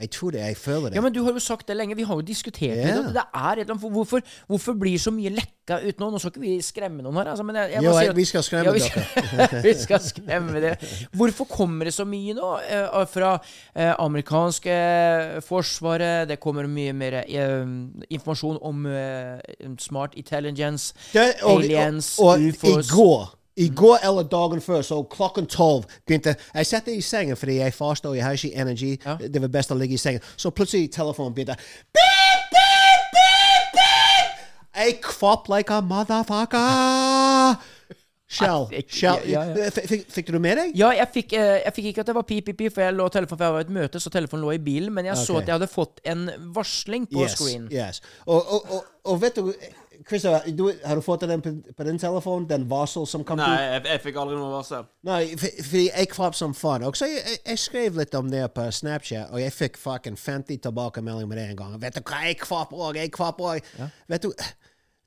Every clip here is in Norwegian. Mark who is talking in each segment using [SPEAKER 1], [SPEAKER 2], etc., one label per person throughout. [SPEAKER 1] Jeg tror det, jeg føler det.
[SPEAKER 2] Ja, men Du har jo sagt det lenge. Vi har jo diskutert
[SPEAKER 1] Ja.
[SPEAKER 2] det. og Det er et eller annet, for hvorfor, hvorfor blir så mye lekka uten noe? Nå skal ikke vi skremme noen her. Altså, men jeg, jeg
[SPEAKER 1] Jo,
[SPEAKER 2] bare
[SPEAKER 1] jeg-
[SPEAKER 2] sier at-
[SPEAKER 1] vi skal skremme
[SPEAKER 2] vi skal, vi skal skremme det. Hvorfor kommer det så mye nå eh, fra eh, amerikanske forsvaret? Det kommer mye mer eh, informasjon om eh, smart intelligence,
[SPEAKER 1] Det- er- og,
[SPEAKER 2] aliens,
[SPEAKER 1] og, og
[SPEAKER 2] ufos
[SPEAKER 1] i går i
[SPEAKER 2] Mm.
[SPEAKER 1] går eller dagen før, så klokken tolv begynte Jeg satte i sengen fordi jeg fasta og jeg har ikke energi.
[SPEAKER 2] Ja.
[SPEAKER 1] Det var best å ligge i sengen. Så plutselig telefonen begynte Beep, beep, beep, beep! Jeg kvap like a motherfucker! Shell.
[SPEAKER 2] det er ikke-
[SPEAKER 1] Shell.
[SPEAKER 2] ja, ja, ja.
[SPEAKER 1] F- Fikk, fikk du det med deg?
[SPEAKER 2] Ja, jeg fikk, eh, jeg fikk ikke at det var pip-pip-pip, for jeg lå telefonen, for jeg var i et møte, så telefonen lå i bilen, men jeg så
[SPEAKER 1] Ok.
[SPEAKER 2] at jeg hadde fått en varsling på screen.
[SPEAKER 1] Yes. Og, og, og, og vet du Christer, du, har du fått den på, på din telefon? Den varsel som kom
[SPEAKER 3] Nei,
[SPEAKER 1] ut?
[SPEAKER 3] jeg, jeg fikk aldri noe varsel.
[SPEAKER 1] Nei, for- fordi jeg kvapp som faen. Og så jeg, jeg, jeg skrev litt om det på eh, Snapchat, og jeg fikk fucking 50 tilbakemeldinger med det en gang. Vet du hva, jeg kvapp òg, jeg kvapp òg. Vet du,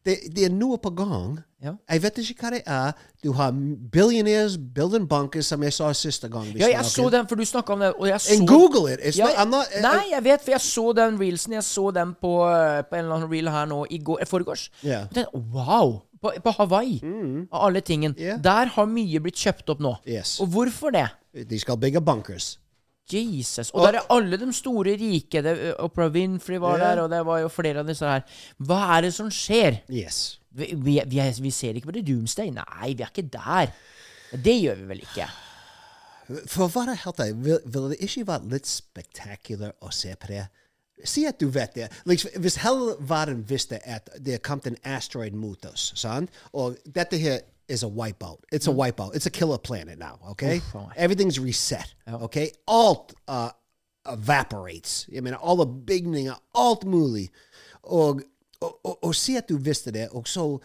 [SPEAKER 1] det, det er noe på gang.
[SPEAKER 2] Ja.
[SPEAKER 1] Jeg vet ikke hva det er. Du har eh, billionaires building bunkers, som jeg sa siste gang. vi
[SPEAKER 2] Ja, jeg
[SPEAKER 1] snakket.
[SPEAKER 2] så den, for du snakka om den, og jeg så
[SPEAKER 1] And Google it. It's
[SPEAKER 2] Ja,
[SPEAKER 1] not, I'm not,
[SPEAKER 2] nei, jeg vet, for jeg så den reelsen. Jeg så den på, eh, på en eller annen reel her nå i går, eh, forgårs.
[SPEAKER 1] Ja. Mm.
[SPEAKER 2] Og tenkte, wow! På, på Hawaii, av alle tingen.
[SPEAKER 1] Ja.
[SPEAKER 2] Der har mye blitt kjøpt opp nå.
[SPEAKER 1] Yes.
[SPEAKER 2] Og hvorfor det?
[SPEAKER 1] De skal bygge bunkers.
[SPEAKER 2] Jesus. Og der er alle de store rike. Det, eh, Oprah Winfrey var
[SPEAKER 1] Ja.
[SPEAKER 2] der, og det var jo flere av disse her. Hva er det som skjer?
[SPEAKER 1] Yes.
[SPEAKER 2] Vi, vi, vi, er, vi ser ikke på det doomsday. Nei, vi er ikke der. Det gjør vi vel ikke.
[SPEAKER 1] For å være helt ærlig, vil- ville det ikke vært litt spektakulært å se på det? Si at du vet det. Liksom, hvis hele verden visste at det kom en asteroid mot oss, sant? og dette her is a wipeout. It's a wipeout. It's a killer planet now, okay? Everything's reset, okay? Alt uh, evaporates. Jeg mener, alle bygninger, alt mulig. Og, og, og, og si at du visste det, og så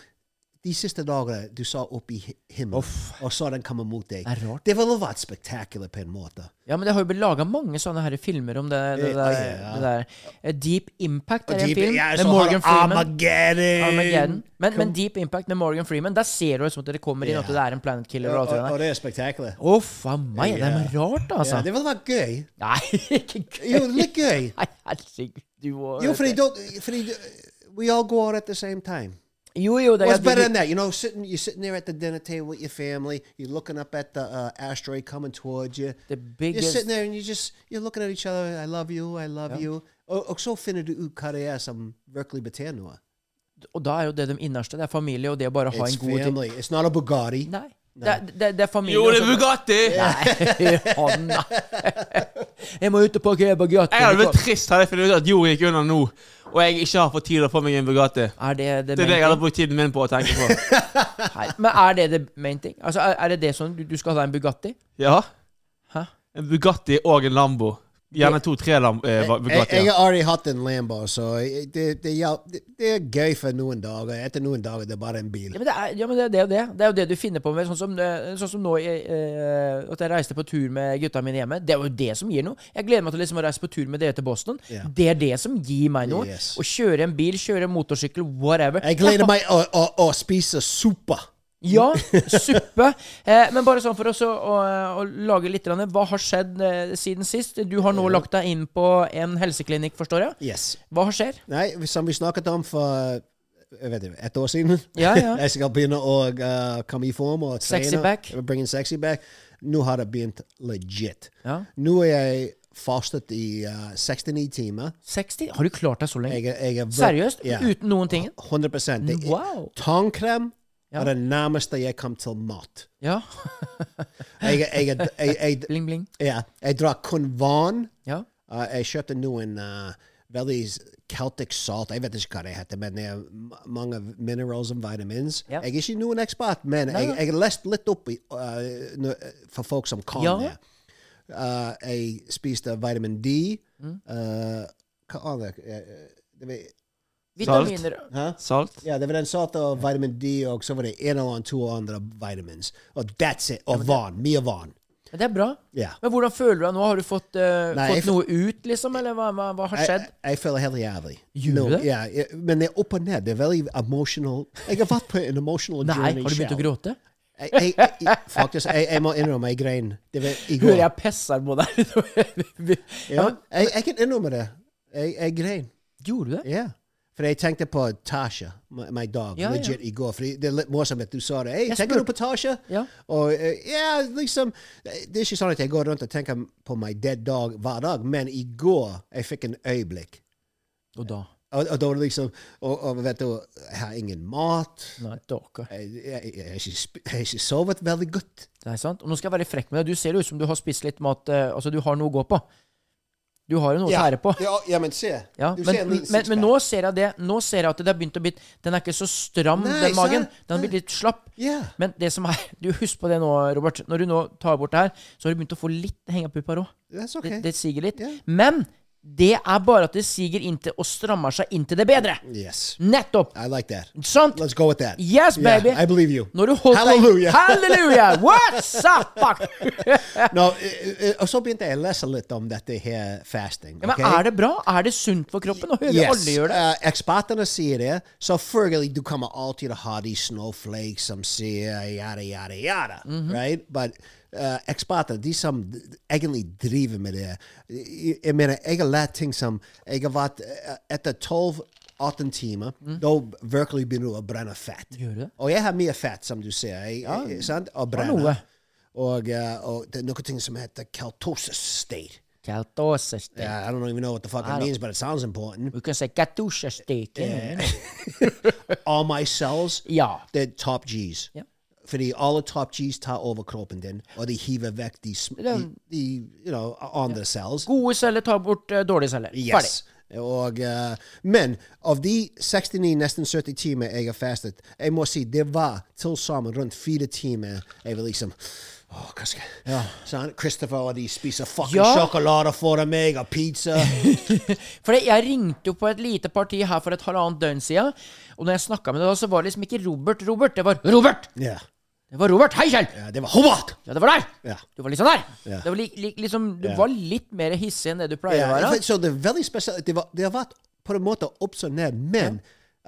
[SPEAKER 1] de siste dagene du sa opp i hi- himmelen, og så den kommer mot deg.
[SPEAKER 2] Det er rart.
[SPEAKER 1] Det ville vært spektakulært på en måte.
[SPEAKER 2] Ja, men det har jo blitt laga mange sånne her filmer om det, det,
[SPEAKER 1] Eh,
[SPEAKER 2] der,
[SPEAKER 1] ja.
[SPEAKER 2] det der. Eh, Deep Impact er
[SPEAKER 1] Og
[SPEAKER 2] en
[SPEAKER 1] de-
[SPEAKER 2] film
[SPEAKER 1] ja, så
[SPEAKER 2] med
[SPEAKER 1] har du
[SPEAKER 2] Morgan Freeman.
[SPEAKER 1] Armageddon!
[SPEAKER 2] Armageddon. Men, men
[SPEAKER 1] Kom-
[SPEAKER 2] Deep Impact med Morgan Freeman, der ser du liksom at det kommer inn
[SPEAKER 1] Ja.
[SPEAKER 2] at det er en planet killer.
[SPEAKER 1] og,
[SPEAKER 2] og alt
[SPEAKER 1] og, og
[SPEAKER 2] det der.
[SPEAKER 1] det er spektakulært.
[SPEAKER 2] Å, faen meg. Det er
[SPEAKER 1] Ja.
[SPEAKER 2] rart, altså.
[SPEAKER 1] Ja, det ville vært gøy.
[SPEAKER 2] Nei, ikke gøy.
[SPEAKER 1] Jo, litt gøy.
[SPEAKER 2] Nei, herregud. Du og
[SPEAKER 1] Jo, fordi, da- fordi du- we all go out at the same time.
[SPEAKER 2] Jo, jo, det
[SPEAKER 1] What's
[SPEAKER 2] er
[SPEAKER 1] better than that? You know, sitting you're sitting there at the dinner table with your family. You're looking up at the uh, asteroid coming towards you.
[SPEAKER 2] The
[SPEAKER 1] You're
[SPEAKER 2] biggest-
[SPEAKER 1] sitting there and you just you're looking at each other. I love you. I love you. Oh, Og, og så finner du ut hva det er som virkelig betyr noe.
[SPEAKER 2] Og da er jo det de innerste. Det er familie, og det å bare ha
[SPEAKER 1] It's
[SPEAKER 2] en god tid.
[SPEAKER 1] family. It's not a Bugatti.
[SPEAKER 2] Nei. Det, er- det, det er familie.
[SPEAKER 3] Jo, det er
[SPEAKER 2] og så-
[SPEAKER 3] Bugatti!
[SPEAKER 2] Nei, han, nei. Jeg må ut og pakke Bugatti.
[SPEAKER 3] Jeg hadde blitt trist hadde jeg funnet ut at jorda gikk under nå, og jeg ikke har fått tid til å få meg en Bugatti.
[SPEAKER 2] Er det
[SPEAKER 3] Det
[SPEAKER 2] det,
[SPEAKER 3] er
[SPEAKER 2] main
[SPEAKER 3] det jeg hadde
[SPEAKER 2] thing?
[SPEAKER 3] brukt tiden min på å tenke på.
[SPEAKER 2] Nei, Men er det det main thing? Altså, er, er det det som du, du skal ha deg en Bugatti?
[SPEAKER 3] Ja?
[SPEAKER 2] Hæ?
[SPEAKER 3] En Bugatti og en Lambo. Gjerne to-tre lam... Eh, va-
[SPEAKER 1] Jeg, jeg
[SPEAKER 3] Bugatti.
[SPEAKER 1] har allerede hatt en Lambo, så jeg- det, det, hjalp- det, det er gøy for noen dager. Etter noen dager det er bare en bil.
[SPEAKER 2] Ja, men det er, ja, men det, er det, og det. det er jo det du finner på med. Sånn som, eh, sånn som nå jeg, eh, at jeg reiste på tur med gutta mine hjemme. Det er jo det som gir noe. Jeg gleder meg til liksom å reise på tur med dere til Boston.
[SPEAKER 1] Ja.
[SPEAKER 2] Det er det som gir meg noe.
[SPEAKER 1] Yes.
[SPEAKER 2] Å kjøre en bil, kjøre en motorsykkel, whatever.
[SPEAKER 1] Jeg gleder meg å, å, å spise suppe.
[SPEAKER 2] Ja, suppe. Eh, men bare sånn for oss å, å, å lage litt grann, Hva har skjedd eh, siden sist? Du har nå lagt deg inn på en helseklinikk, forstår jeg.
[SPEAKER 1] Yes.
[SPEAKER 2] Hva har skjer?
[SPEAKER 1] Nei, som vi snakket om for eh, jeg vet ikke, ett år siden.
[SPEAKER 2] Ja, ja.
[SPEAKER 1] jeg skal begynne å eh, komme i form og trene.
[SPEAKER 2] Sexy back.
[SPEAKER 1] Bring in sexy back. Nå har det begynt legit.
[SPEAKER 2] Ja.
[SPEAKER 1] Nå er jeg fastet i eh, 69 timer.
[SPEAKER 2] 60? Har du klart deg så lenge?
[SPEAKER 1] Jeg, er- jeg er vir-
[SPEAKER 2] Seriøst?
[SPEAKER 1] Ja.
[SPEAKER 2] Uten noen ting?
[SPEAKER 1] 100 det, er-
[SPEAKER 2] Wow.
[SPEAKER 1] Tannkrem
[SPEAKER 2] Ja.
[SPEAKER 1] er det nærmeste jeg kom til mat.
[SPEAKER 2] Ja.
[SPEAKER 1] Jeg, jeg, jeg, jeg, jeg,
[SPEAKER 2] bling, bling.
[SPEAKER 1] ja, jeg drar kun vann.
[SPEAKER 2] Ja.
[SPEAKER 1] Uh, jeg kjøpte noen uh, veldig s- Celtic salt. Jeg vet ikke hva det heter, men det er ma- mange minerals og vitamins.
[SPEAKER 2] Ja.
[SPEAKER 1] Jeg er ikke noen ekspert, men jeg, jeg har lest litt opp i, uh, nå- for folk som kan
[SPEAKER 2] Ja.
[SPEAKER 1] det. Uh, jeg spiste vitamin D. Uh, hva annet? Uh, det var,
[SPEAKER 2] Vitaminer.
[SPEAKER 1] hæ?
[SPEAKER 3] Salt.
[SPEAKER 1] Ja, det var den salte og vitamin D, og så var det en eller annen to andre vitamins. Og that's it. Og vann. Mye vann.
[SPEAKER 2] Men Det er bra.
[SPEAKER 1] Ja.
[SPEAKER 2] Men hvordan føler du deg nå? Har du fått, eh,
[SPEAKER 1] Nei, jeg
[SPEAKER 2] fått
[SPEAKER 1] f-
[SPEAKER 2] noe ut, liksom? Eller hva, hva, hva har skjedd?
[SPEAKER 1] Jeg, jeg føler helt jævlig.
[SPEAKER 2] Gjør
[SPEAKER 1] Nå,
[SPEAKER 2] du det?
[SPEAKER 1] Ja, jeg- men det er opp og ned. Det er veldig emotional. Jeg har vært på en emotional
[SPEAKER 2] Nei, har
[SPEAKER 1] journey
[SPEAKER 2] du begynt å
[SPEAKER 1] selv.
[SPEAKER 2] gråte?
[SPEAKER 1] Jeg, jeg, jeg, faktisk, jeg, jeg må innrømme jeg grein. Det var i går.
[SPEAKER 2] Hører jeg pisser på deg?
[SPEAKER 1] ja, jeg, jeg kan innrømme det. Jeg, jeg grein.
[SPEAKER 2] Gjorde du det?
[SPEAKER 1] Ja. For jeg tenkte på Tasha, my, my dog,
[SPEAKER 2] Ja, ja.
[SPEAKER 1] legit i går. For det er litt morsomt at du sa det. Hey,
[SPEAKER 2] Jeg
[SPEAKER 1] tenker du
[SPEAKER 2] spurte-
[SPEAKER 1] på Tasha?
[SPEAKER 2] Ja.
[SPEAKER 1] Og eh, ja, liksom Det er ikke sånn at jeg går rundt og tenker på my dead dog hver dag, men i går jeg fikk en øyeblikk.
[SPEAKER 2] Og da?
[SPEAKER 1] Og, og da var det liksom og, og vet du, jeg har ingen mat.
[SPEAKER 2] Nei, dere.
[SPEAKER 1] Jeg, jeg, jeg, har ikke sp- jeg har ikke sovet veldig godt.
[SPEAKER 2] Det er sant. Og nå skal jeg være frekk med deg. Du ser jo ut som du har spist litt mat. eh, altså, du har noe å gå på. Du har jo noe å tære på.
[SPEAKER 1] Ja, ja, men se.
[SPEAKER 2] Ja,
[SPEAKER 1] Du
[SPEAKER 2] men,
[SPEAKER 1] ser en
[SPEAKER 2] men,
[SPEAKER 1] liten
[SPEAKER 2] men,
[SPEAKER 1] sixpack.
[SPEAKER 2] nå ser jeg det Nå ser jeg at det har begynt å bli Den er ikke så stram,
[SPEAKER 1] Nei,
[SPEAKER 2] den magen.
[SPEAKER 1] sant?
[SPEAKER 2] Den har blitt litt slapp.
[SPEAKER 1] Ja.
[SPEAKER 2] Men det som er Du Husk på det nå, Robert. Når du nå tar bort det her, så har du begynt å få litt hengepupper òg.
[SPEAKER 1] That's
[SPEAKER 2] Det,
[SPEAKER 1] okay.
[SPEAKER 2] det siger litt.
[SPEAKER 1] Ja.
[SPEAKER 2] Men det er bare at det siger inntil og strammer seg inntil det bedre.
[SPEAKER 1] Yes.
[SPEAKER 2] Nettopp.
[SPEAKER 1] I like that.
[SPEAKER 2] Sant?
[SPEAKER 1] Let's go with that.
[SPEAKER 2] Yes,
[SPEAKER 1] Yeah,
[SPEAKER 2] baby.
[SPEAKER 1] I believe you.
[SPEAKER 2] Når du holdt
[SPEAKER 1] Hallelujah.
[SPEAKER 2] deg Halleluja! What's up, fuck?
[SPEAKER 1] Nå, eh, eh, og så begynte jeg å lese litt om dette her fasting.
[SPEAKER 2] Ja, men er det bra? Er det sunt for kroppen? Og hører alle gjør det?
[SPEAKER 1] eh, ekspertene sier det. Selvfølgelig, du kommer alltid å ha de snowflakes som sier yada, yada, yada.
[SPEAKER 2] Mhm.
[SPEAKER 1] right? But eh, eksperter, de som d- egentlig driver med det Jeg, jeg mener, jeg har lært ting som Jeg har vært eh, Etter 12-18 timer, da virkelig begynner du å brenne fett.
[SPEAKER 2] Mhm. Gjør du det?
[SPEAKER 1] Og jeg har mye fett, som du ser. Jeg, jeg, sant? Og
[SPEAKER 2] noe.
[SPEAKER 1] brenner. Og, eh, og det er noe ting som heter kaltosis state.
[SPEAKER 2] Katosis steak.
[SPEAKER 1] Yeah, I don't even know what the fuck it
[SPEAKER 2] don't-
[SPEAKER 1] means, but it sounds important.
[SPEAKER 2] We can say katosis steak. Yeah.
[SPEAKER 1] all my cells,
[SPEAKER 2] Ja.
[SPEAKER 1] they're top G's.
[SPEAKER 2] Ja.
[SPEAKER 1] Fordi alle top G's tar over kroppen din, og de hiver vekk de, sm- de, de you know, andre cells.
[SPEAKER 2] Gode celler tar bort eh, dårlige celler. Ferdig.
[SPEAKER 1] Yes. Og, eh, men av de 69, nesten 70 timer jeg har fastet, jeg må si det var til sammen rundt fire timer jeg var liksom Åh, hva Oh, skal jeg Sånn, Christopher og de spiser fucking
[SPEAKER 2] Ja.
[SPEAKER 1] sjokolade foran meg, og pizza.
[SPEAKER 2] For det- jeg ringte jo på et lite parti her for et halvannet døgn siden, og når jeg snakka med deg da, så var det liksom ikke Robert Robert, det var Robert!
[SPEAKER 1] Ja.
[SPEAKER 2] Det var Robert! Hei, Kjell!
[SPEAKER 1] ja, det var Hobart!
[SPEAKER 2] Ja, det var der!
[SPEAKER 1] Ja.
[SPEAKER 2] Du var litt sånn der!
[SPEAKER 1] Ja.
[SPEAKER 2] Det var li, li, liksom, du var litt mer hissig enn det du pleier
[SPEAKER 1] Ja,
[SPEAKER 2] å
[SPEAKER 1] for-
[SPEAKER 2] være.
[SPEAKER 1] Så det er veldig spesielt. Det, var, det har vært på en måte ups og ned, men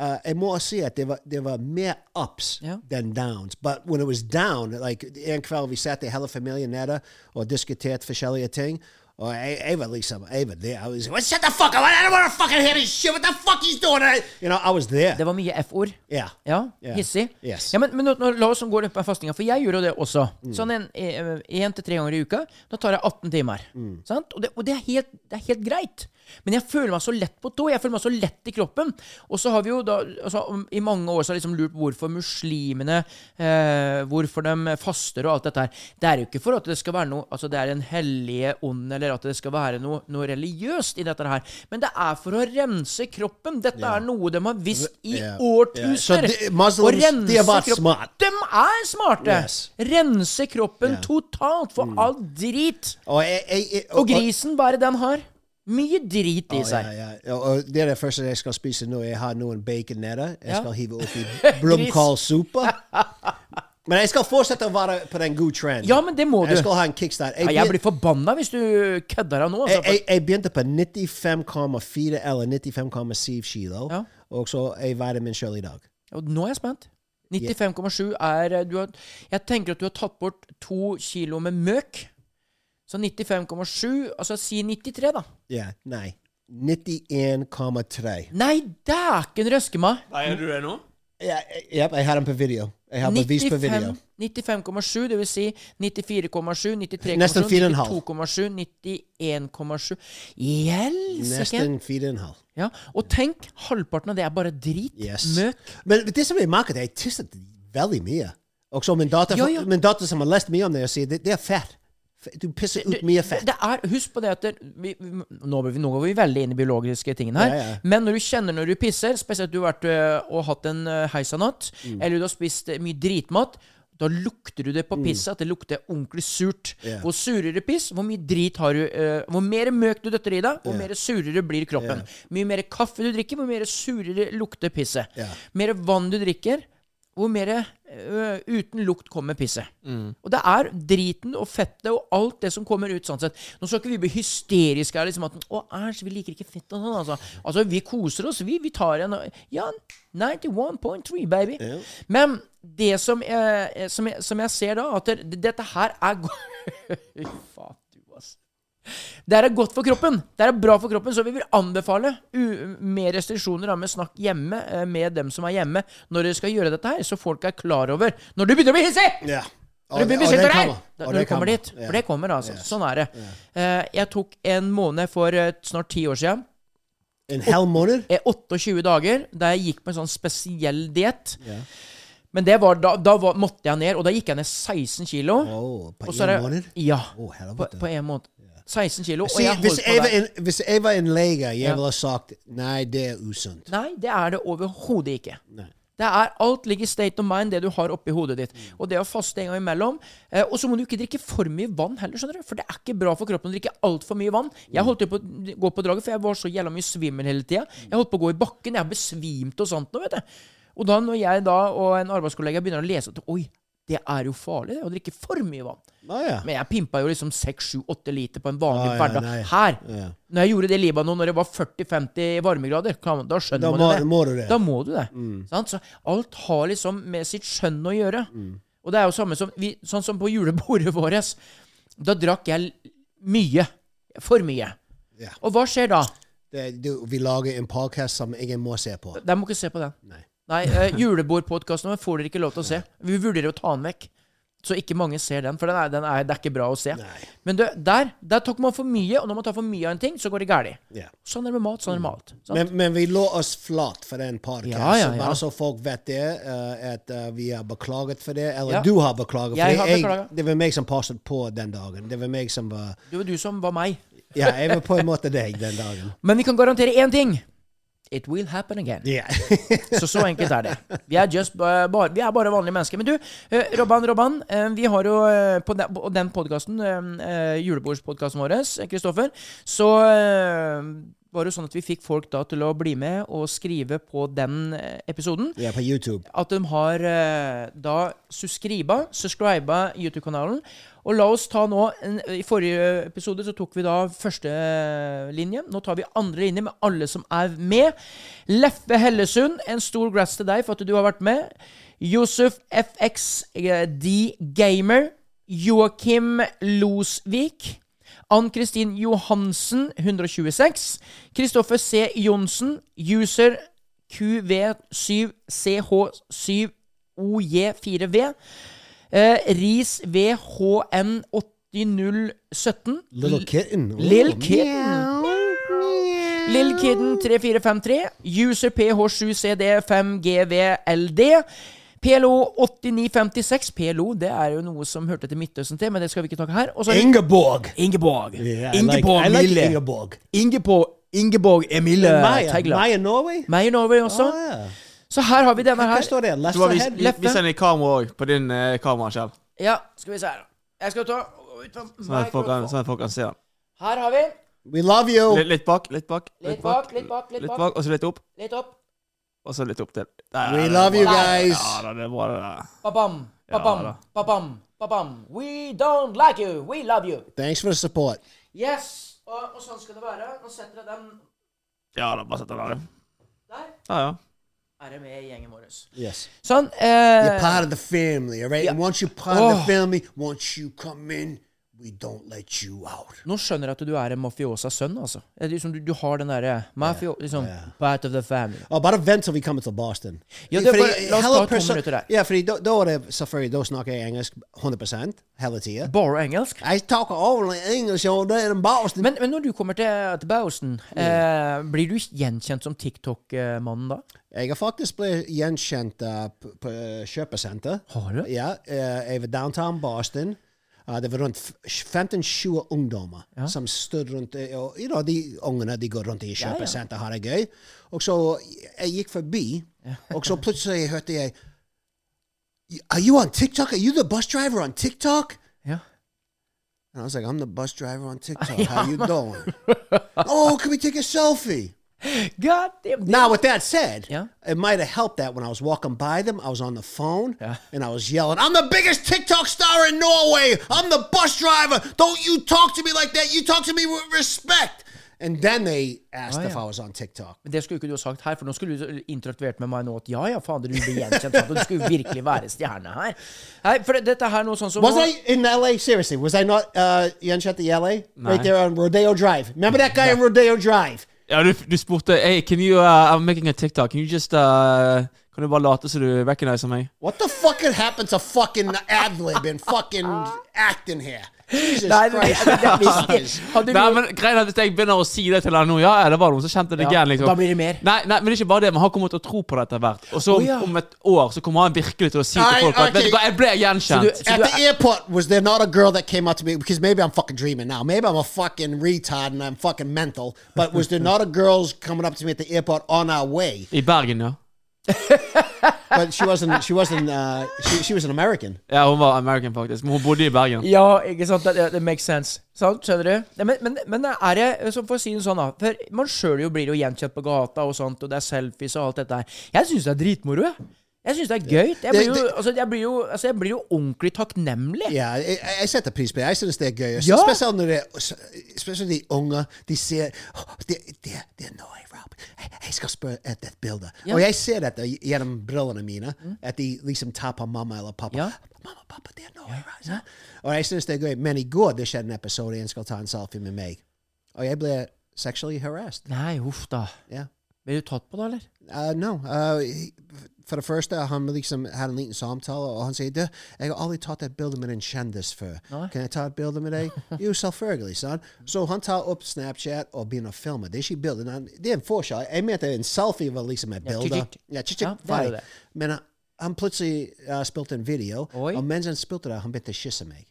[SPEAKER 1] eh, jeg må si at det var, det var mer ups
[SPEAKER 2] Ja.
[SPEAKER 1] than downs. But when it was down, like en kveld vi satt hele familien nede og diskuterte forskjellige ting, e, og jeg, jeg var liksom, jeg var der. I was like, shut the fuck up, I don't want to fucking hear this shit, what the fuck he's doing? I, you know, I was there.
[SPEAKER 2] Det var mye F-ord.
[SPEAKER 1] yeah.
[SPEAKER 2] Ja,
[SPEAKER 1] Ja.
[SPEAKER 2] hissig.
[SPEAKER 1] Yes. Mm.
[SPEAKER 2] Ja, men, men nå, nå, la oss gå litt på fastinga, for jeg gjør jo det også. Sånn en-
[SPEAKER 1] Mm.
[SPEAKER 2] en til tre ganger i uka. Da tar jeg 18 timer. Sant? Og, det, og det, er helt, det er helt greit. Men jeg føler meg så lett på tå. Jeg føler meg så lett i kroppen. Og så har vi jo da altså, om- i mange år så har jeg liksom lurt på hvorfor muslimene eh, Hvorfor de faster og alt dette her. Det er jo ikke for at det skal være noe Altså det er en hellige ånd, eller at det skal være noe, noe religiøst i dette her. Men det er for å rense kroppen. Dette er noe de har visst i
[SPEAKER 1] Ja.
[SPEAKER 2] årtusener.
[SPEAKER 1] Så de- Muslims, they are about
[SPEAKER 2] kropp-
[SPEAKER 1] smart.
[SPEAKER 2] De er smarte!
[SPEAKER 1] Yes.
[SPEAKER 2] Rense kroppen
[SPEAKER 1] Ja. Mm.
[SPEAKER 2] totalt for all drit.
[SPEAKER 1] Og, jeg, jeg, jeg,
[SPEAKER 2] Og grisen, bare den har mye drit i
[SPEAKER 1] Å,
[SPEAKER 2] seg.
[SPEAKER 1] Ja, ja. oh, Og- Og det er det første jeg skal spise nå. Jeg har noen baconetter. Jeg
[SPEAKER 2] Ja.
[SPEAKER 1] skal hive oppi blomkålsuppe. Men jeg skal fortsette å være på den gode trenden.
[SPEAKER 2] Ja, men det må du.
[SPEAKER 1] Jeg skal ha en kickstart.
[SPEAKER 2] Ja,
[SPEAKER 1] Jeg,
[SPEAKER 2] jeg
[SPEAKER 1] begyn-
[SPEAKER 2] blir forbanna hvis du kødder av nå.
[SPEAKER 1] jeg,
[SPEAKER 2] Altså.
[SPEAKER 1] jeg, jeg begynte på 95,4 eller 95,7 kilo.
[SPEAKER 2] Ja.
[SPEAKER 1] Og så jeg veide meg selv i dag.
[SPEAKER 2] Og nå er jeg spent. 95,7 er eh, du har, Jeg tenker at du har tatt bort to kilo med møk. Så 95,7 Altså si 93, da.
[SPEAKER 1] Ja, nei. 91,3.
[SPEAKER 2] Nei, dæken røske meg!
[SPEAKER 3] Veier du det nå?
[SPEAKER 1] Ja, jeg- jep, jeg har den på video. Jeg har bevis på video.
[SPEAKER 2] 95 95,7, det vil si 94,7, 93,7,
[SPEAKER 1] Nesten 4,5.
[SPEAKER 2] 92,7, 91,7 Helsike!
[SPEAKER 1] Nesten 4,5.
[SPEAKER 2] Ja, og tenk, halvparten av det er bare drit.
[SPEAKER 1] Yes.
[SPEAKER 2] Møk.
[SPEAKER 1] Men det som er merket, jeg tisset veldig mye. Og så min datter,
[SPEAKER 2] Ja, ja.
[SPEAKER 1] min datter som har lest mye om det, sier det, det er fett. F- Du pisser ut mye fett.
[SPEAKER 2] Det er, husk på det at det, vi, vi- nå, blir vi, nå går vi veldig inn i biologiske tingene her.
[SPEAKER 1] Ja, ja.
[SPEAKER 2] Men når du kjenner når du pisser, spesielt du har vært øh, og hatt en øh, heisanatt,
[SPEAKER 1] Mm.
[SPEAKER 2] eller du har spist øh, mye dritmat, da lukter du det på pisset at det lukter ordentlig surt.
[SPEAKER 1] Mm. Ja.
[SPEAKER 2] Hvor surere piss, hvor mye drit har du øh, Hvor mer møk du døtter i deg, hvor mer surere blir kroppen. Mye mer kaffe du drikker, hvor mer surere lukter pisset.
[SPEAKER 1] Ja.
[SPEAKER 2] Mer vann du drikker, hvor mer øh, uten lukt kommer pisset. Og det er driten og fettet og alt det som kommer ut sånn sett. Nå skal ikke vi bli hysteriske her, liksom at å, æsj, vi liker ikke fett og sånn, altså. Altså, vi koser oss, vi. Vi tar en Ja, 91.3, baby. Men det som, eh, som, jeg, som jeg ser da, at det, dette her er go- Fy faen, du, ass. Det her er godt for kroppen. Det her er bra for kroppen, så vi vil anbefale u med restriksjoner da, med snakk hjemme eh, med dem som er hjemme, når dere skal gjøre dette her, så folk er klar over når du begynner å bli hissig!
[SPEAKER 1] Ja.
[SPEAKER 2] Når du blir beskyldt for det her! Da- Når
[SPEAKER 1] det
[SPEAKER 2] du kommer dit.
[SPEAKER 1] Ja.
[SPEAKER 2] For det kommer, altså. Sånn er det. Eh, Jeg tok en måned for eh, snart ti år siden.
[SPEAKER 1] En halv måned?
[SPEAKER 2] eh, 28 dager, der jeg gikk på en sånn spesiell diett. Men det var, da, da var, måtte jeg ned, og da gikk jeg ned 16 kilo.
[SPEAKER 1] Åh, på
[SPEAKER 2] Og så
[SPEAKER 1] en
[SPEAKER 2] er det-
[SPEAKER 1] måned?
[SPEAKER 2] Ja.
[SPEAKER 1] Åh,
[SPEAKER 2] på,
[SPEAKER 1] helvete.
[SPEAKER 2] på en måned. 16 kilo. Og
[SPEAKER 1] Se,
[SPEAKER 2] jeg
[SPEAKER 1] hvis,
[SPEAKER 2] holdt
[SPEAKER 1] jeg
[SPEAKER 2] på
[SPEAKER 1] var
[SPEAKER 2] der.
[SPEAKER 1] en, hvis jeg var en lege, jeg
[SPEAKER 2] Ja.
[SPEAKER 1] ville ha sagt nei, det er usunt.
[SPEAKER 2] Nei, det er det overhodet ikke. Det er, alt ligger state of mind, det du har oppi hodet ditt. Og det å faste en gang imellom. Eh, og så må du ikke drikke for mye vann heller, skjønner du. For det er ikke bra for kroppen å drikke altfor mye vann. Jeg holdt jo på å gå på draget, for jeg var så jævla mye svimmel hele tida. Jeg holdt på å gå i bakken, jeg besvimte og sånt nå, vet du. Og da når jeg da og en arbeidskollega begynner å lese at oi, det er jo farlig det, å drikke for mye vann.
[SPEAKER 1] Å, ja.
[SPEAKER 2] Men jeg pimpa jo liksom 6-7-8 liter på en vanlig
[SPEAKER 1] Ah, ja,
[SPEAKER 2] hverdag.
[SPEAKER 1] nei.
[SPEAKER 2] Her!
[SPEAKER 1] Ja.
[SPEAKER 2] Når jeg gjorde det i Libanon når det var 40-50 varmegrader, kan- da skjønner
[SPEAKER 1] Da
[SPEAKER 2] man
[SPEAKER 1] må-
[SPEAKER 2] jo det.
[SPEAKER 1] må du det. Mm.
[SPEAKER 2] Da må du det. Sant? Så alt har liksom med sitt skjønn å gjøre.
[SPEAKER 1] Mm.
[SPEAKER 2] Og det er jo samme som vi, Sånn som på julebordet vårt. Da drakk jeg mye. For mye.
[SPEAKER 1] Ja.
[SPEAKER 2] Og hva skjer da?
[SPEAKER 1] Det, du, vi lager en podcast som ingen må se på.
[SPEAKER 2] Dere må ikke se på den.
[SPEAKER 1] Nei.
[SPEAKER 2] Nei, eh, Julebordpodkasten får dere ikke lov til å se. Vi vurderer å ta den vekk. Så ikke mange ser den, for den er, den er, det er ikke bra å se. Men du, der, der tok man for mye, og når man tar for mye av en ting, så går det galt.
[SPEAKER 1] Ja.
[SPEAKER 2] Sånn er det med mat. sånn er det med alt. sant?
[SPEAKER 1] Mm. Men, men vi lå oss flat for den podcasten.
[SPEAKER 2] Ja, ja, ja.
[SPEAKER 1] Bare så folk vet det, eh, at eh, vi har beklaget for det. Eller
[SPEAKER 2] Ja.
[SPEAKER 1] du har beklaget for det.
[SPEAKER 2] Jeg har beklaget.
[SPEAKER 1] det var meg som passet på den dagen. Det var meg som var
[SPEAKER 2] Det var du som var meg.
[SPEAKER 1] Ja, jeg var på en måte deg den dagen.
[SPEAKER 2] Men vi kan garantere én ting. It will happen again.
[SPEAKER 1] Ja.
[SPEAKER 2] Så så enkelt er det. Vi er, just, eh, bare, vi er bare vanlige mennesker. Men du, eh, Robban, Robban, eh, vi har jo eh, på den, på den podkasten, julebordspodkasten vår, eh, Kristoffer, så eh, var det jo sånn at vi fikk folk da til å bli med og skrive på den eh, episoden.
[SPEAKER 1] ja, på YouTube.
[SPEAKER 2] At de har eh, da subscriba, subscriba YouTube-kanalen. Og la oss ta nå en, I forrige episode så tok vi da første linje. Nå tar vi andre linje med alle som er med. Leffe Hellesund, en stor grats til deg for at du har vært med. Josef FXD Gamer. Joakim Losvik. Ann-Kristin Johansen, 126. Kristoffer C. Johnsen, user QV7CH7OJ4V. Eh, Ris VHN8017.
[SPEAKER 1] Little Kitten.
[SPEAKER 2] Lil Kitten.
[SPEAKER 1] Meow, meow.
[SPEAKER 2] Lill Kidden 3453. User PH7CD5GVLD. PLO 8956. PLO det er jo noe som hørte til Midtøsten til, men det skal vi ikke snakke her. Og så er det
[SPEAKER 1] Ingeborg!
[SPEAKER 2] Ingeborg.
[SPEAKER 1] Yeah, I like,
[SPEAKER 2] Ingeborg
[SPEAKER 1] I like
[SPEAKER 2] Mille.
[SPEAKER 1] Ingeborg.
[SPEAKER 2] Ingeborg, Ingeborg Emile
[SPEAKER 1] Maya,
[SPEAKER 2] Teigler.
[SPEAKER 1] Maya Norway?
[SPEAKER 2] Maya Norway også.
[SPEAKER 1] Ah, ja.
[SPEAKER 2] Så her har vi denne
[SPEAKER 1] Hva
[SPEAKER 2] her.
[SPEAKER 1] står det? Left
[SPEAKER 3] Du har
[SPEAKER 1] ahead?
[SPEAKER 3] vist, vi- vis den i kamera òg, på din eh, kamera, Kjell.
[SPEAKER 2] Ja, skal vi se her. Jeg skal ta ut
[SPEAKER 3] Sånn at
[SPEAKER 2] fra
[SPEAKER 3] folk kan,
[SPEAKER 2] mikrofonen.
[SPEAKER 3] sånn at folk kan se den.
[SPEAKER 2] Her har vi.
[SPEAKER 1] We love you!
[SPEAKER 3] Litt, litt bak, litt bak.
[SPEAKER 2] Litt bak, litt bak, litt
[SPEAKER 3] Litt
[SPEAKER 2] bak.
[SPEAKER 3] bak, og så litt opp.
[SPEAKER 2] Litt opp.
[SPEAKER 3] Og så litt opp til. Der,
[SPEAKER 1] We
[SPEAKER 3] det er
[SPEAKER 1] love you
[SPEAKER 3] bra.
[SPEAKER 1] guys.
[SPEAKER 3] Ja, da, det er bra, det der.
[SPEAKER 2] Ba-bam,
[SPEAKER 3] Ja,
[SPEAKER 2] ba-bam,
[SPEAKER 3] da.
[SPEAKER 2] ba-bam, ba-bam. We don't like you, we love you.
[SPEAKER 1] Thanks for the support.
[SPEAKER 2] Yes, og, og sånn skal det være. Nå setter jeg den
[SPEAKER 3] Ja da, bare sett den der. du.
[SPEAKER 2] der.
[SPEAKER 3] Ja, ja.
[SPEAKER 2] Er det med E i gjengen vår.
[SPEAKER 1] Yes.
[SPEAKER 2] Sånn.
[SPEAKER 1] You're
[SPEAKER 2] Eh,
[SPEAKER 1] part of the family, all right?
[SPEAKER 2] Yeah.
[SPEAKER 1] And once you're part of
[SPEAKER 2] Oh.
[SPEAKER 1] the family, once you come in, we don't let you out.
[SPEAKER 2] nå skjønner jeg at du er en mafiosas sønn, altså. Det er Liksom, du, du har den derre mafio... Liksom, part of the family.
[SPEAKER 1] Oh, bara vänta vi kommer till Boston.
[SPEAKER 2] Ja, det
[SPEAKER 1] Fordi
[SPEAKER 2] var- låt oss
[SPEAKER 1] hela
[SPEAKER 2] ta två
[SPEAKER 1] perso-
[SPEAKER 2] minuter där.
[SPEAKER 1] Ja, för då, då är det så för då snackar jag engelsk 100% hela tiden.
[SPEAKER 2] Bare engelsk?
[SPEAKER 1] I talk only English all day in Boston.
[SPEAKER 2] Men, men når du kommer til, til Bausen, eh, blir du gjenkjent som TikTok-mannen da?
[SPEAKER 1] Jag har faktiskt blivit igenkänd eh, på, på eh, köpcenter.
[SPEAKER 2] Har du?
[SPEAKER 1] Ja, eh, över downtown Boston. Eh, det var runt f- 15-20 ungdomar som stod runt. eh, och, you know, de ungarna de går runt i köpcenter och har det gøy. Och så jag gick förbi och så plötsligt hörde jag Are you on TikTok? Are you the bus driver on TikTok?
[SPEAKER 2] Ja.
[SPEAKER 1] And I was like, I'm the bus driver on TikTok. How you doing? oh, can we take a selfie?
[SPEAKER 2] God damn.
[SPEAKER 1] Now, with that said,
[SPEAKER 2] Yeah.
[SPEAKER 1] it might have helped that when I was walking by them, I was on the phone and I was yelling, I'm the biggest TikTok star in Norway. I'm the bus driver. Don't you talk to me like that. You talk to me with respect. And then they asked
[SPEAKER 2] Oh,
[SPEAKER 1] if
[SPEAKER 2] yeah.
[SPEAKER 1] I was on TikTok.
[SPEAKER 2] Men det skulle jo ikke du ha sagt her, for nå skulle du interaktuert med meg nå at ja, ja, fader, du blir gjenkjent. sant? Og du skulle jo virkelig være stjerne her. Nei, for det- dette her nå sånn som
[SPEAKER 1] Was
[SPEAKER 2] nå,
[SPEAKER 1] I in LA? Seriously, was I not uh, Yen Shet the LA? Right there on Rodeo Drive. Remember that guy on Rodeo Drive?
[SPEAKER 3] Ja, du, du spurte Hey, can you uh, I'm making a TikTok. Can you just uh, Kan du bare late som du recognizer meg?
[SPEAKER 1] What the fuck had happened to fucking ad lib and fucking acting here? Jesus
[SPEAKER 2] Nei, det,
[SPEAKER 1] Christ.
[SPEAKER 2] det, det, det, hadde
[SPEAKER 3] Nei,
[SPEAKER 2] du
[SPEAKER 3] men greien er at Hvis jeg begynner å si det til han nå Ja, ja, det var noen som kjente det
[SPEAKER 2] Ja,
[SPEAKER 3] igjen. liksom
[SPEAKER 2] da blir det mer.
[SPEAKER 3] Nei, nei, men det er ikke bare det. Men han kommer til å tro på det etter hvert. Og så om,
[SPEAKER 2] Å, ja.
[SPEAKER 3] om et år så kommer han virkelig til å si
[SPEAKER 1] Nei,
[SPEAKER 3] til folk at
[SPEAKER 1] ok.
[SPEAKER 3] Vet du hva, jeg ble gjenkjent.
[SPEAKER 2] Så du-
[SPEAKER 1] At the airport, was there not a girl that came up to me? Because maybe I'm fucking dreaming now. Maybe I'm a fucking retard and I'm fucking mental. But was there not a girls coming up to me at the airport on our way?
[SPEAKER 3] I Bergen, ja.
[SPEAKER 1] But she wasn't. She wasn't. Uh, she, she was an American.
[SPEAKER 3] Ja, hun var American, faktisk. Men hun bodde i Bergen.
[SPEAKER 2] Ja, ikke sant? Det, det makes sense. Sant? Skjønner du? Nei, men, men, men er det så For å si det sånn, da. For man sjøl jo blir jo gjenkjent på gata, og sånt, og det er selfies og alt dette her. Jeg syns det er dritmoro, jeg. Jeg syns det er gøy. Jeg blir jo,
[SPEAKER 1] det-
[SPEAKER 2] altså, jeg blir jo, altså, jeg blir jo ordentlig takknemlig.
[SPEAKER 1] Ja, jeg, jeg setter pris på det. Jeg synes det er gøy.
[SPEAKER 2] Ja.
[SPEAKER 1] Spesielt når det spesielt de unge de ser «Åh, det, det, det er Norway, Rob. Jeg, jeg skal spørre etter et bilde. Og jeg ser dette gjennom brillene mine. At de liksom tar på mamma eller pappa.
[SPEAKER 2] Ja.
[SPEAKER 1] Mamma, pappa, det er Norway, Rob. sant? Og jeg synes det er gøy. Men i går det skjedde en episode en skal ta en selfie med meg. Og jeg ble sexually harassed.
[SPEAKER 2] Nei, huff da.
[SPEAKER 1] Ja.
[SPEAKER 2] Blir du tatt på det, eller?
[SPEAKER 1] Uh, no. Uh, he- for det første, han liksom hadde en liten samtale, og uh, han eh, sier «Du, 'Jeg har aldri tatt et bilde med en kjendis før. Kan jeg ta et bilde med deg?' jo, selvfølgelig, sant? Så han tar opp Snapchat og begynner å filme. Det er ikke bildene. han- Det er en forskjell. Jeg mente en selfie var liksom et
[SPEAKER 2] Ja,
[SPEAKER 1] bilde.
[SPEAKER 2] tjukk, tjukk.
[SPEAKER 1] Ja, tjukk,
[SPEAKER 2] Ja,
[SPEAKER 1] tjukk,
[SPEAKER 2] det er jo
[SPEAKER 1] ferdig.
[SPEAKER 2] det.
[SPEAKER 1] Men han, han plutselig uh, spilte en video,
[SPEAKER 2] Oi.
[SPEAKER 1] og mens han spilte det, han begynte å kysse meg.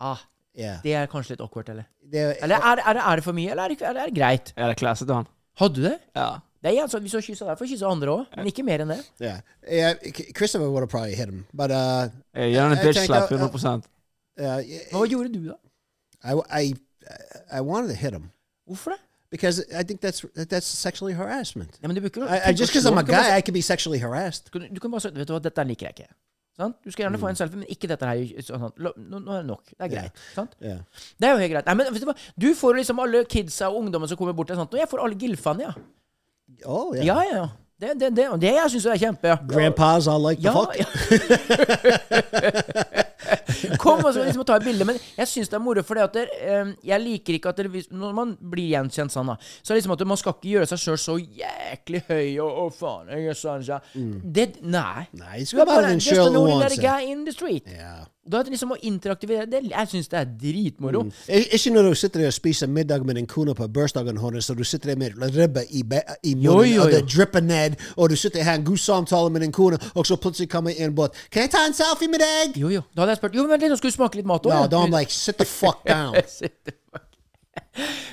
[SPEAKER 2] Ah,
[SPEAKER 1] Ja.
[SPEAKER 2] det er kanskje litt awkward, eller?
[SPEAKER 1] Det-
[SPEAKER 2] Eller er, er, det, er det for mye, eller er det, eller er det greit?
[SPEAKER 3] Er det klasset til han?
[SPEAKER 2] Hadde du det?
[SPEAKER 3] Ja.
[SPEAKER 2] Det er igjen sånn, Hvis du har kyssa der, får du kysse andre òg. Men ikke mer enn det.
[SPEAKER 1] yeah. Yeah, Christopher would have probably hit him, but uh,
[SPEAKER 3] Jeg gir han en
[SPEAKER 1] Jeg
[SPEAKER 3] bitch slap
[SPEAKER 1] tenker, ja.
[SPEAKER 3] 100
[SPEAKER 1] uh,
[SPEAKER 2] Hva gjorde du da?
[SPEAKER 1] I, I, I wanted to hit him.
[SPEAKER 2] Hvorfor det?
[SPEAKER 1] because I think that's that's sexually harassment.
[SPEAKER 2] Ja, men du bruker,
[SPEAKER 1] I, I, just because I'm a guy, I can be sexually harassed.
[SPEAKER 2] Du kan, du kan bare si Vet du hva, dette liker jeg ikke. Sant? Du skal gjerne få en selfie, men ikke dette her. Sånn, sånn, la- nå, nå er det nok. Det er
[SPEAKER 1] Ja.
[SPEAKER 2] greit. Sant?
[SPEAKER 1] Yeah.
[SPEAKER 2] Det er jo helt greit. Nei, men vet du hva? Du får liksom alle kidsa og ungdommen som kommer bort til sånt. Og sånn, jeg får alle gilfene, ja.
[SPEAKER 1] Oh yeah.
[SPEAKER 2] Ja, ja, ja. Det, det, det, og det jeg syns er kjempe. Ja.
[SPEAKER 1] Grandpas, I like
[SPEAKER 2] Ja,
[SPEAKER 1] the fuck.
[SPEAKER 2] ja. Kom og så liksom og ta et bilde. Men jeg syns det er moro, for det at der, eh, jeg liker ikke at der, hvis- når man blir gjenkjent sånn, da, så er det liksom at man skal ikke gjøre seg sjøl så jæklig høy og å, faen, jeg er sånn, sånn. Det, nei.
[SPEAKER 1] Nah, he's
[SPEAKER 2] Du er
[SPEAKER 1] got about
[SPEAKER 2] bare
[SPEAKER 1] an
[SPEAKER 2] just an
[SPEAKER 1] insurance.
[SPEAKER 2] ordinary guy in the street.
[SPEAKER 1] Yeah.
[SPEAKER 2] Da er det liksom å interaktivere det. Jeg syns det er dritmoro.
[SPEAKER 1] Ik- Ikke når du sitter der og spiser middag med din kone på bursdagen hennes, og du sitter der med ribbe i, e be- i munnen,
[SPEAKER 2] Jo, jo,
[SPEAKER 1] og det
[SPEAKER 2] jo.
[SPEAKER 1] drypper ned, og du sitter og har en god samtale med din kone, og så plutselig kommer en båt. 'Kan jeg ta en selfie med deg?'
[SPEAKER 2] Jo, jo. Da hadde jeg spurt Jo, men vent litt, nå skal du smake litt mat òg.
[SPEAKER 1] No, da er han like, 'Sit the fuck down'.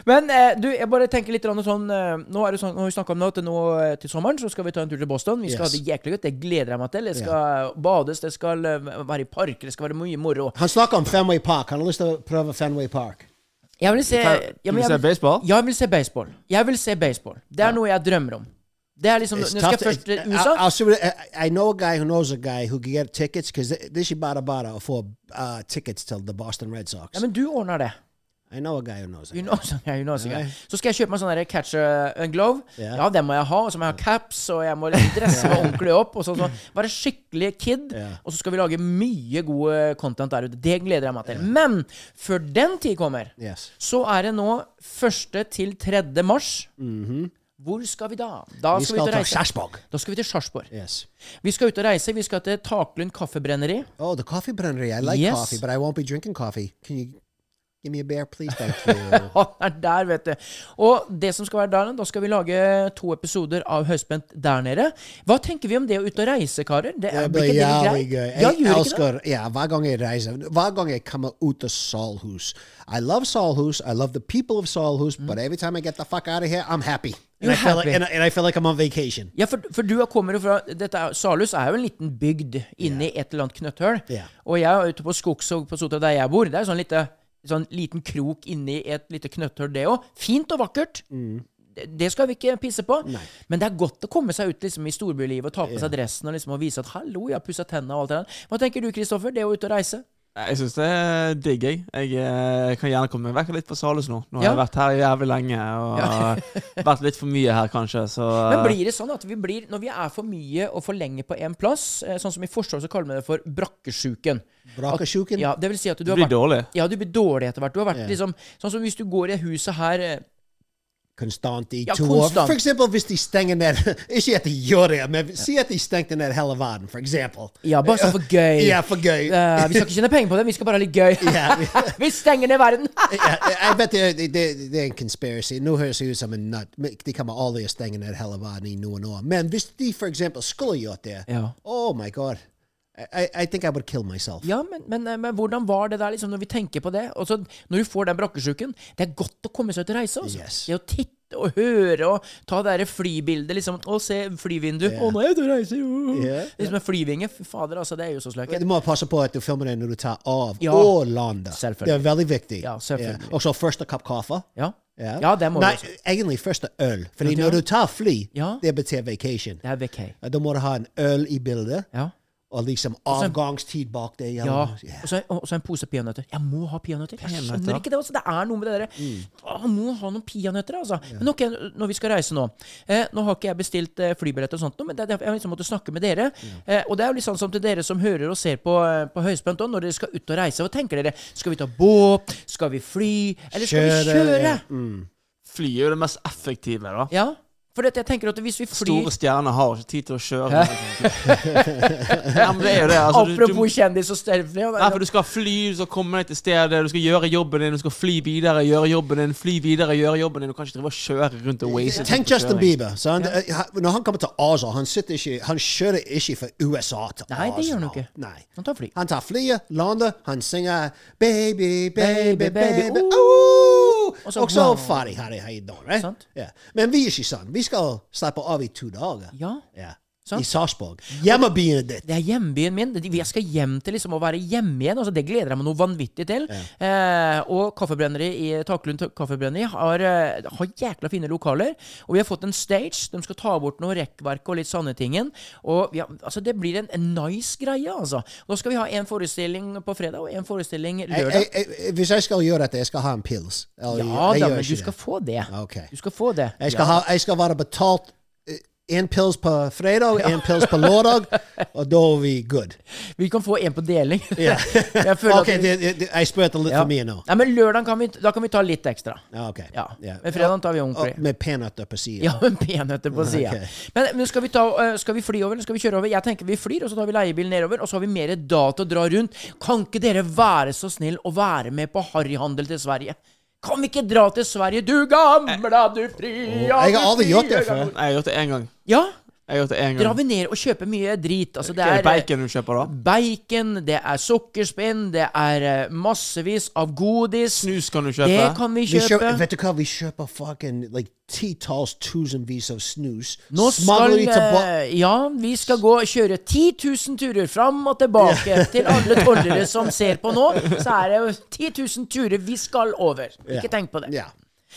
[SPEAKER 2] Men eh, du, jeg bare tenker litt grann sånn eh, Nå er det sånn, nå har vi snakket om det at nå eh, til sommeren så skal vi ta en tur til Boston. Vi skal
[SPEAKER 1] Yes.
[SPEAKER 2] ha det jæklig godt. Det gleder jeg meg til. Det skal bades, det skal eh, være i parker, det skal være mye moro.
[SPEAKER 1] Han snakker om Fenway Park. Han har lyst til å prøve Fenway Park.
[SPEAKER 2] Jeg vil se,
[SPEAKER 3] Kan- du
[SPEAKER 2] ja, men
[SPEAKER 3] vil
[SPEAKER 2] jeg
[SPEAKER 3] se baseball?
[SPEAKER 2] Ja, jeg vil se baseball. Jeg vil se baseball. Det er noe jeg drømmer om. Det er liksom Nå
[SPEAKER 1] It's
[SPEAKER 2] skal jeg
[SPEAKER 1] tough-
[SPEAKER 2] først til
[SPEAKER 1] I- I-
[SPEAKER 2] USA.
[SPEAKER 1] I'll see what- I, I know a guy who knows a guy who can get tickets because this is bara bara for uh, tickets to the Boston Red Sox.
[SPEAKER 2] Ja, men du ordner det.
[SPEAKER 1] I know a guy who knows. a
[SPEAKER 2] You
[SPEAKER 1] guy.
[SPEAKER 2] know, sånn, ja, you know, sånn, ja. Så skal jeg kjøpe meg sånn der catch uh, and glove.
[SPEAKER 1] Ja.
[SPEAKER 2] Ja, den må jeg ha. Og så må jeg ha caps, og jeg må liksom dresse meg ordentlig opp. Og sånn, sånn. Være skikkelig kid. Og så skal vi lage mye god content der ute. Det gleder jeg meg til. Men før den tid kommer,
[SPEAKER 1] Yes.
[SPEAKER 2] så er det nå 1. til 3. mars. Hvor skal vi da? Da
[SPEAKER 1] Mhm. Vi
[SPEAKER 2] skal vi
[SPEAKER 1] skal
[SPEAKER 2] ut og
[SPEAKER 1] til
[SPEAKER 2] reise.
[SPEAKER 1] Sarpsborg.
[SPEAKER 2] Da skal vi til Sarpsborg.
[SPEAKER 1] Yes.
[SPEAKER 2] Vi skal ut og reise. Vi skal til Taklund kaffebrenneri.
[SPEAKER 1] Oh, the coffee brewery. I like
[SPEAKER 2] Yes.
[SPEAKER 1] coffee, but I won't be drinking coffee. Can you give me a beer, please? Thank you.
[SPEAKER 2] Han er der, vet du. Og det som skal være der, da skal vi lage to episoder av Høyspent der nede. Hva tenker vi om det å ut og reise, karer? Det er,
[SPEAKER 1] Det
[SPEAKER 2] blir
[SPEAKER 1] blir
[SPEAKER 2] ikke det
[SPEAKER 1] jævlig
[SPEAKER 2] litt
[SPEAKER 1] gøy.
[SPEAKER 2] greit? Ja,
[SPEAKER 1] Jeg
[SPEAKER 2] gjør ikke det?
[SPEAKER 1] elsker ja, Hver gang jeg reiser Hver gang jeg kommer ut av Solhus I love Solhus. I love the people of Solhus. But every time I get the fuck out of here, I'm happy. And
[SPEAKER 2] Mm. You're
[SPEAKER 1] I feel
[SPEAKER 2] happy.
[SPEAKER 1] Like, and, I- and I feel like I'm on vacation.
[SPEAKER 2] Ja, for, for du kommer jo fra dette er, Salhus er jo en liten bygd inni et eller annet knøtthøl.
[SPEAKER 1] Ja.
[SPEAKER 2] Og jeg er ute på Skogsvåg på Sotra, der jeg bor. Det er sånn, lite, sånn liten krok inni et lite knøtthøl, det òg. Fint og vakkert.
[SPEAKER 3] Mm.
[SPEAKER 2] Det- Det skal vi ikke pisse på. Men det er godt å komme seg ut liksom, i storbylivet og ta på seg dressen og, liksom, og vise at 'hallo, jeg har pussa tenna' og alt det der. Hva tenker du, Kristoffer? Det å ut og reise?
[SPEAKER 3] Jeg syns det er digg, jeg. Jeg eh, kan gjerne komme meg vekk litt fra Salhus nå. Nå har
[SPEAKER 2] Ja.
[SPEAKER 3] jeg vært her jævlig lenge og vært litt for mye her, kanskje. Så eh,
[SPEAKER 2] Men blir det sånn at vi blir, når vi er for mye og for lenge på én plass eh, Sånn som i Forsvaret så kaller vi det for brakkesjuken.
[SPEAKER 1] Brakasjuken.
[SPEAKER 2] Ja, det vil si at du
[SPEAKER 3] det
[SPEAKER 2] har
[SPEAKER 3] blir
[SPEAKER 2] vært
[SPEAKER 3] dårlig.
[SPEAKER 2] Ja, du blir dårlig etter hvert. Du har
[SPEAKER 1] Ja.
[SPEAKER 2] vært liksom Sånn som hvis du går i det huset her eh,
[SPEAKER 1] Konstant i
[SPEAKER 2] Ja,
[SPEAKER 1] to år.
[SPEAKER 2] konstant.
[SPEAKER 1] For eksempel hvis de stenger ned Ikke at de gjør det, men si at de stengte ned hele verden, for eksempel.
[SPEAKER 2] Ja, bare sånn for gøy.
[SPEAKER 1] Ja, for gøy.
[SPEAKER 2] Eh, vi skal ikke tjene penger på det, vi skal bare ha litt gøy. vi stenger ned verden!
[SPEAKER 1] Ja, jeg vet det, det, det, det er en conspiracy. Nå høres jeg ut som en nut. Men De kommer aldri å stenge ned hele verden i noen år. Men hvis de for eksempel skulle gjort det
[SPEAKER 2] Ja.
[SPEAKER 1] Oh my god. I, I- I think I would kill myself.
[SPEAKER 2] Ja, men, men, eh, men hvordan var det der, liksom, når vi tenker på det? Og så når du får den brakkesjuken Det er godt å komme seg ut og reise, altså.
[SPEAKER 1] Yes.
[SPEAKER 2] Det å titte og høre og ta det derre flybildet, liksom. Og se flyvinduet. Å, nå er jeg ute og reiser! jo.
[SPEAKER 1] Ja.
[SPEAKER 2] Liksom en flyvinge. Fy fader, altså. Det er jo så sløkket.
[SPEAKER 1] Du må passe på at du filmer det når du tar av
[SPEAKER 2] Ja.
[SPEAKER 1] og lander.
[SPEAKER 2] Selvfølgelig.
[SPEAKER 1] Det er veldig viktig.
[SPEAKER 2] Ja, selvfølgelig.
[SPEAKER 1] Og så første kopp kaffe.
[SPEAKER 2] Ja. Ja, det må vi
[SPEAKER 1] Nei,
[SPEAKER 2] også.
[SPEAKER 1] egentlig første øl. Fordi
[SPEAKER 2] Ja, det
[SPEAKER 1] når
[SPEAKER 2] er-
[SPEAKER 1] du tar fly,
[SPEAKER 2] Ja.
[SPEAKER 1] det betyr vacation.
[SPEAKER 2] Det er vekk, hei.
[SPEAKER 1] Da må du ha en øl i bildet,
[SPEAKER 2] Ja.
[SPEAKER 1] og liksom avgangstid bak det.
[SPEAKER 2] Ja.
[SPEAKER 1] eller- Ja.
[SPEAKER 2] Og så, og så en pose peanøtter. Jeg må ha peanøtter. Jeg
[SPEAKER 3] Peanøtter. Mm.
[SPEAKER 2] skjønner ikke det. Altså. Det er noe med det derre Å, Må ha noen peanøtter, altså. Men ok, når vi skal reise nå eh, Nå har ikke jeg bestilt eh, flybillett og sånt, nå, men det, det, jeg har liksom måttet snakke med dere. Eh, og det er jo litt sånn som til dere som hører og ser på, eh, på høyspent òg, når dere skal ut og reise. Hva tenker dere? Skal vi ta båt? Skal vi fly? Eller skal vi
[SPEAKER 1] Kjøre,
[SPEAKER 2] kjøre?
[SPEAKER 1] ja.
[SPEAKER 3] Fly er jo det mest effektive, da.
[SPEAKER 2] Ja. For dette, jeg tenker at hvis vi flyr
[SPEAKER 3] Store stjerner har ikke tid til å kjøre. ja, men det er jo det. Altså, du,
[SPEAKER 2] Apropos
[SPEAKER 3] du,
[SPEAKER 2] kjendis og stelfly og-
[SPEAKER 3] nei, for du skal fly, du skal komme deg til stedet, du skal gjøre jobben din, du skal fly videre, gjøre jobben din, fly videre, gjøre jobben din. Du kan ikke drive og kjøre rundt og waste tid
[SPEAKER 1] Tenk
[SPEAKER 3] på
[SPEAKER 1] Justin
[SPEAKER 3] kjøring.
[SPEAKER 1] Bieber. Så han, eh, Når han kommer til Arsenal, han, sitter ikke, han kjører ikke for USA til
[SPEAKER 2] Nei, det gjør han
[SPEAKER 1] Arsenal.
[SPEAKER 2] ikke.
[SPEAKER 1] Nei.
[SPEAKER 2] Han tar fly.
[SPEAKER 1] Han tar flyet, lander, han synger 'Baby, baby,
[SPEAKER 2] Baby, baby,
[SPEAKER 1] baby'. ooh.
[SPEAKER 2] ooh. Og
[SPEAKER 1] Og
[SPEAKER 2] så-
[SPEAKER 1] så,
[SPEAKER 2] wow.
[SPEAKER 1] ferdig har de hatt dagen. Right?
[SPEAKER 2] Sant.
[SPEAKER 1] Ja. Men vi er ikke sånn. Vi skal slappe av i to dager.
[SPEAKER 2] Ja.
[SPEAKER 1] Ja.
[SPEAKER 2] Sant.
[SPEAKER 1] I Sarpsborg. Hjemmebyen ditt.
[SPEAKER 2] Det er hjembyen min. Det- Jeg skal hjem til liksom å være hjemme igjen. Altså, det gleder jeg meg noe vanvittig til. Eh, og kaffebrenneri i Taklund kaffebrenneri har, eh, har jækla fine lokaler. Og vi har fått en stage. De skal ta bort noe rekkverk og litt sånne tingen. Og vi har, altså, det blir en, en nice greie, altså. Da skal vi ha en forestilling på fredag og en forestilling
[SPEAKER 1] Jeg,
[SPEAKER 2] lørdag.
[SPEAKER 1] jeg, jeg, hvis jeg skal gjøre dette, jeg skal ha en pils. Eller,
[SPEAKER 2] ja
[SPEAKER 1] jeg
[SPEAKER 2] da,
[SPEAKER 1] gjør ikke
[SPEAKER 2] men du
[SPEAKER 1] det. Ah,
[SPEAKER 2] skal få det.
[SPEAKER 1] Ok.
[SPEAKER 2] Du skal få det.
[SPEAKER 1] Jeg skal, ha, jeg skal være betalt eh, En pils på fredag, en pils på lørdag, og da er vi good.
[SPEAKER 2] Vi kan få en på deling.
[SPEAKER 1] Ja.
[SPEAKER 2] Jeg føler
[SPEAKER 1] ok,
[SPEAKER 2] at vi,
[SPEAKER 1] det, det, det- jeg spurte litt
[SPEAKER 2] ja.
[SPEAKER 1] for mye nå.
[SPEAKER 2] Nei, men lørdag kan vi, da kan vi ta litt ekstra.
[SPEAKER 1] Ja, ok.
[SPEAKER 2] Ja. Men fredagen tar vi ordentlig.
[SPEAKER 1] Og Med peanøtter på siden.
[SPEAKER 2] Ja, men penheter på sida.
[SPEAKER 1] Ok.
[SPEAKER 2] Men, men skal, vi ta, eh, skal vi fly over, eller skal vi kjøre over? Jeg tenker vi flyr, og så tar vi leiebil nedover, og så har vi mer data å dra rundt. Kan ikke dere være så snill å være med på harryhandel til Sverige? Kan vi ikke dra til Sverige, du gamla, du fria
[SPEAKER 1] Jeg har
[SPEAKER 2] du
[SPEAKER 1] aldri gjort det
[SPEAKER 2] fria,
[SPEAKER 1] før.
[SPEAKER 3] Jeg har gjort det én gang.
[SPEAKER 2] Ja,
[SPEAKER 3] Jeg har gjort det en gang.
[SPEAKER 2] drar vi ned og kjøper mye drit. Altså, det
[SPEAKER 3] Hva er
[SPEAKER 2] er
[SPEAKER 3] det bacon du kjøper, da?
[SPEAKER 2] Bacon, det er sukkerspinn, det er eh, massevis av godis.
[SPEAKER 3] Snus kan du kjøpe.
[SPEAKER 2] Det kan vi
[SPEAKER 1] Vi kjøper,
[SPEAKER 2] kjøpe.
[SPEAKER 1] vet du hva, vi kjøper fucking like, titalls tusenvis av snus.
[SPEAKER 2] Nå
[SPEAKER 1] Smugler
[SPEAKER 2] skal
[SPEAKER 1] de tilba-
[SPEAKER 2] eh, Ja, vi skal gå og kjøre 10 000 turer fram og tilbake. Til alle tollere som ser på nå, så er det jo 10 000 turer vi skal over. Ikke tenk på det.
[SPEAKER 1] Ja.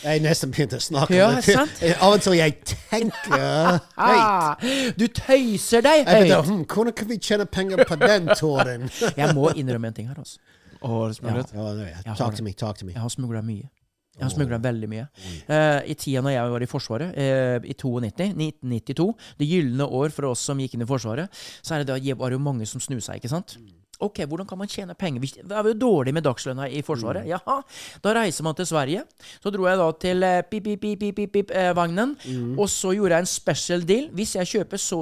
[SPEAKER 1] Jeg nesten begynte å snakke
[SPEAKER 2] Ja,
[SPEAKER 1] om det.
[SPEAKER 2] sant?
[SPEAKER 1] Av og til jeg tenker høyt.
[SPEAKER 2] Ah, du tøyser
[SPEAKER 1] Jeg
[SPEAKER 2] deg
[SPEAKER 1] vet, da,
[SPEAKER 2] høyt.
[SPEAKER 1] hm, hvordan kan vi tjene penger på den turen?
[SPEAKER 2] Jeg må innrømme en ting her, altså.
[SPEAKER 3] Å, det smaker godt.
[SPEAKER 1] Ja, nå, ja.
[SPEAKER 2] har
[SPEAKER 1] Oh, Talk
[SPEAKER 2] det.
[SPEAKER 1] to me, talk to me.
[SPEAKER 2] Jeg har smugla mye. Jeg har smugla veldig mye. Eh, I tida når jeg var i Forsvaret, eh, i 92, 1992, det gylne år for oss som gikk inn i Forsvaret, så er det da det var jo mange som snusa, ikke sant? Ok, hvordan kan man tjene penger? Vi da er vi jo dårlige med dagslønna i Forsvaret. Jaha. Da reiser man til Sverige. Så dro jeg da til eh, pip, pip, pip, pip, pip, pip, eh, vagnen, og så gjorde jeg en special deal. Hvis jeg kjøper så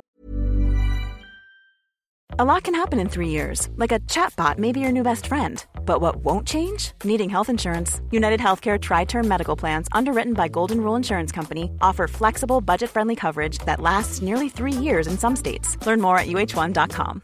[SPEAKER 4] A lot can happen in three years, like a chatbot may be your new best friend. But what won't change? Needing health insurance. United Healthcare Tri Term Medical Plans, underwritten by Golden Rule Insurance Company, offer flexible, budget friendly coverage that lasts nearly three years in some states. Learn more at uh1.com.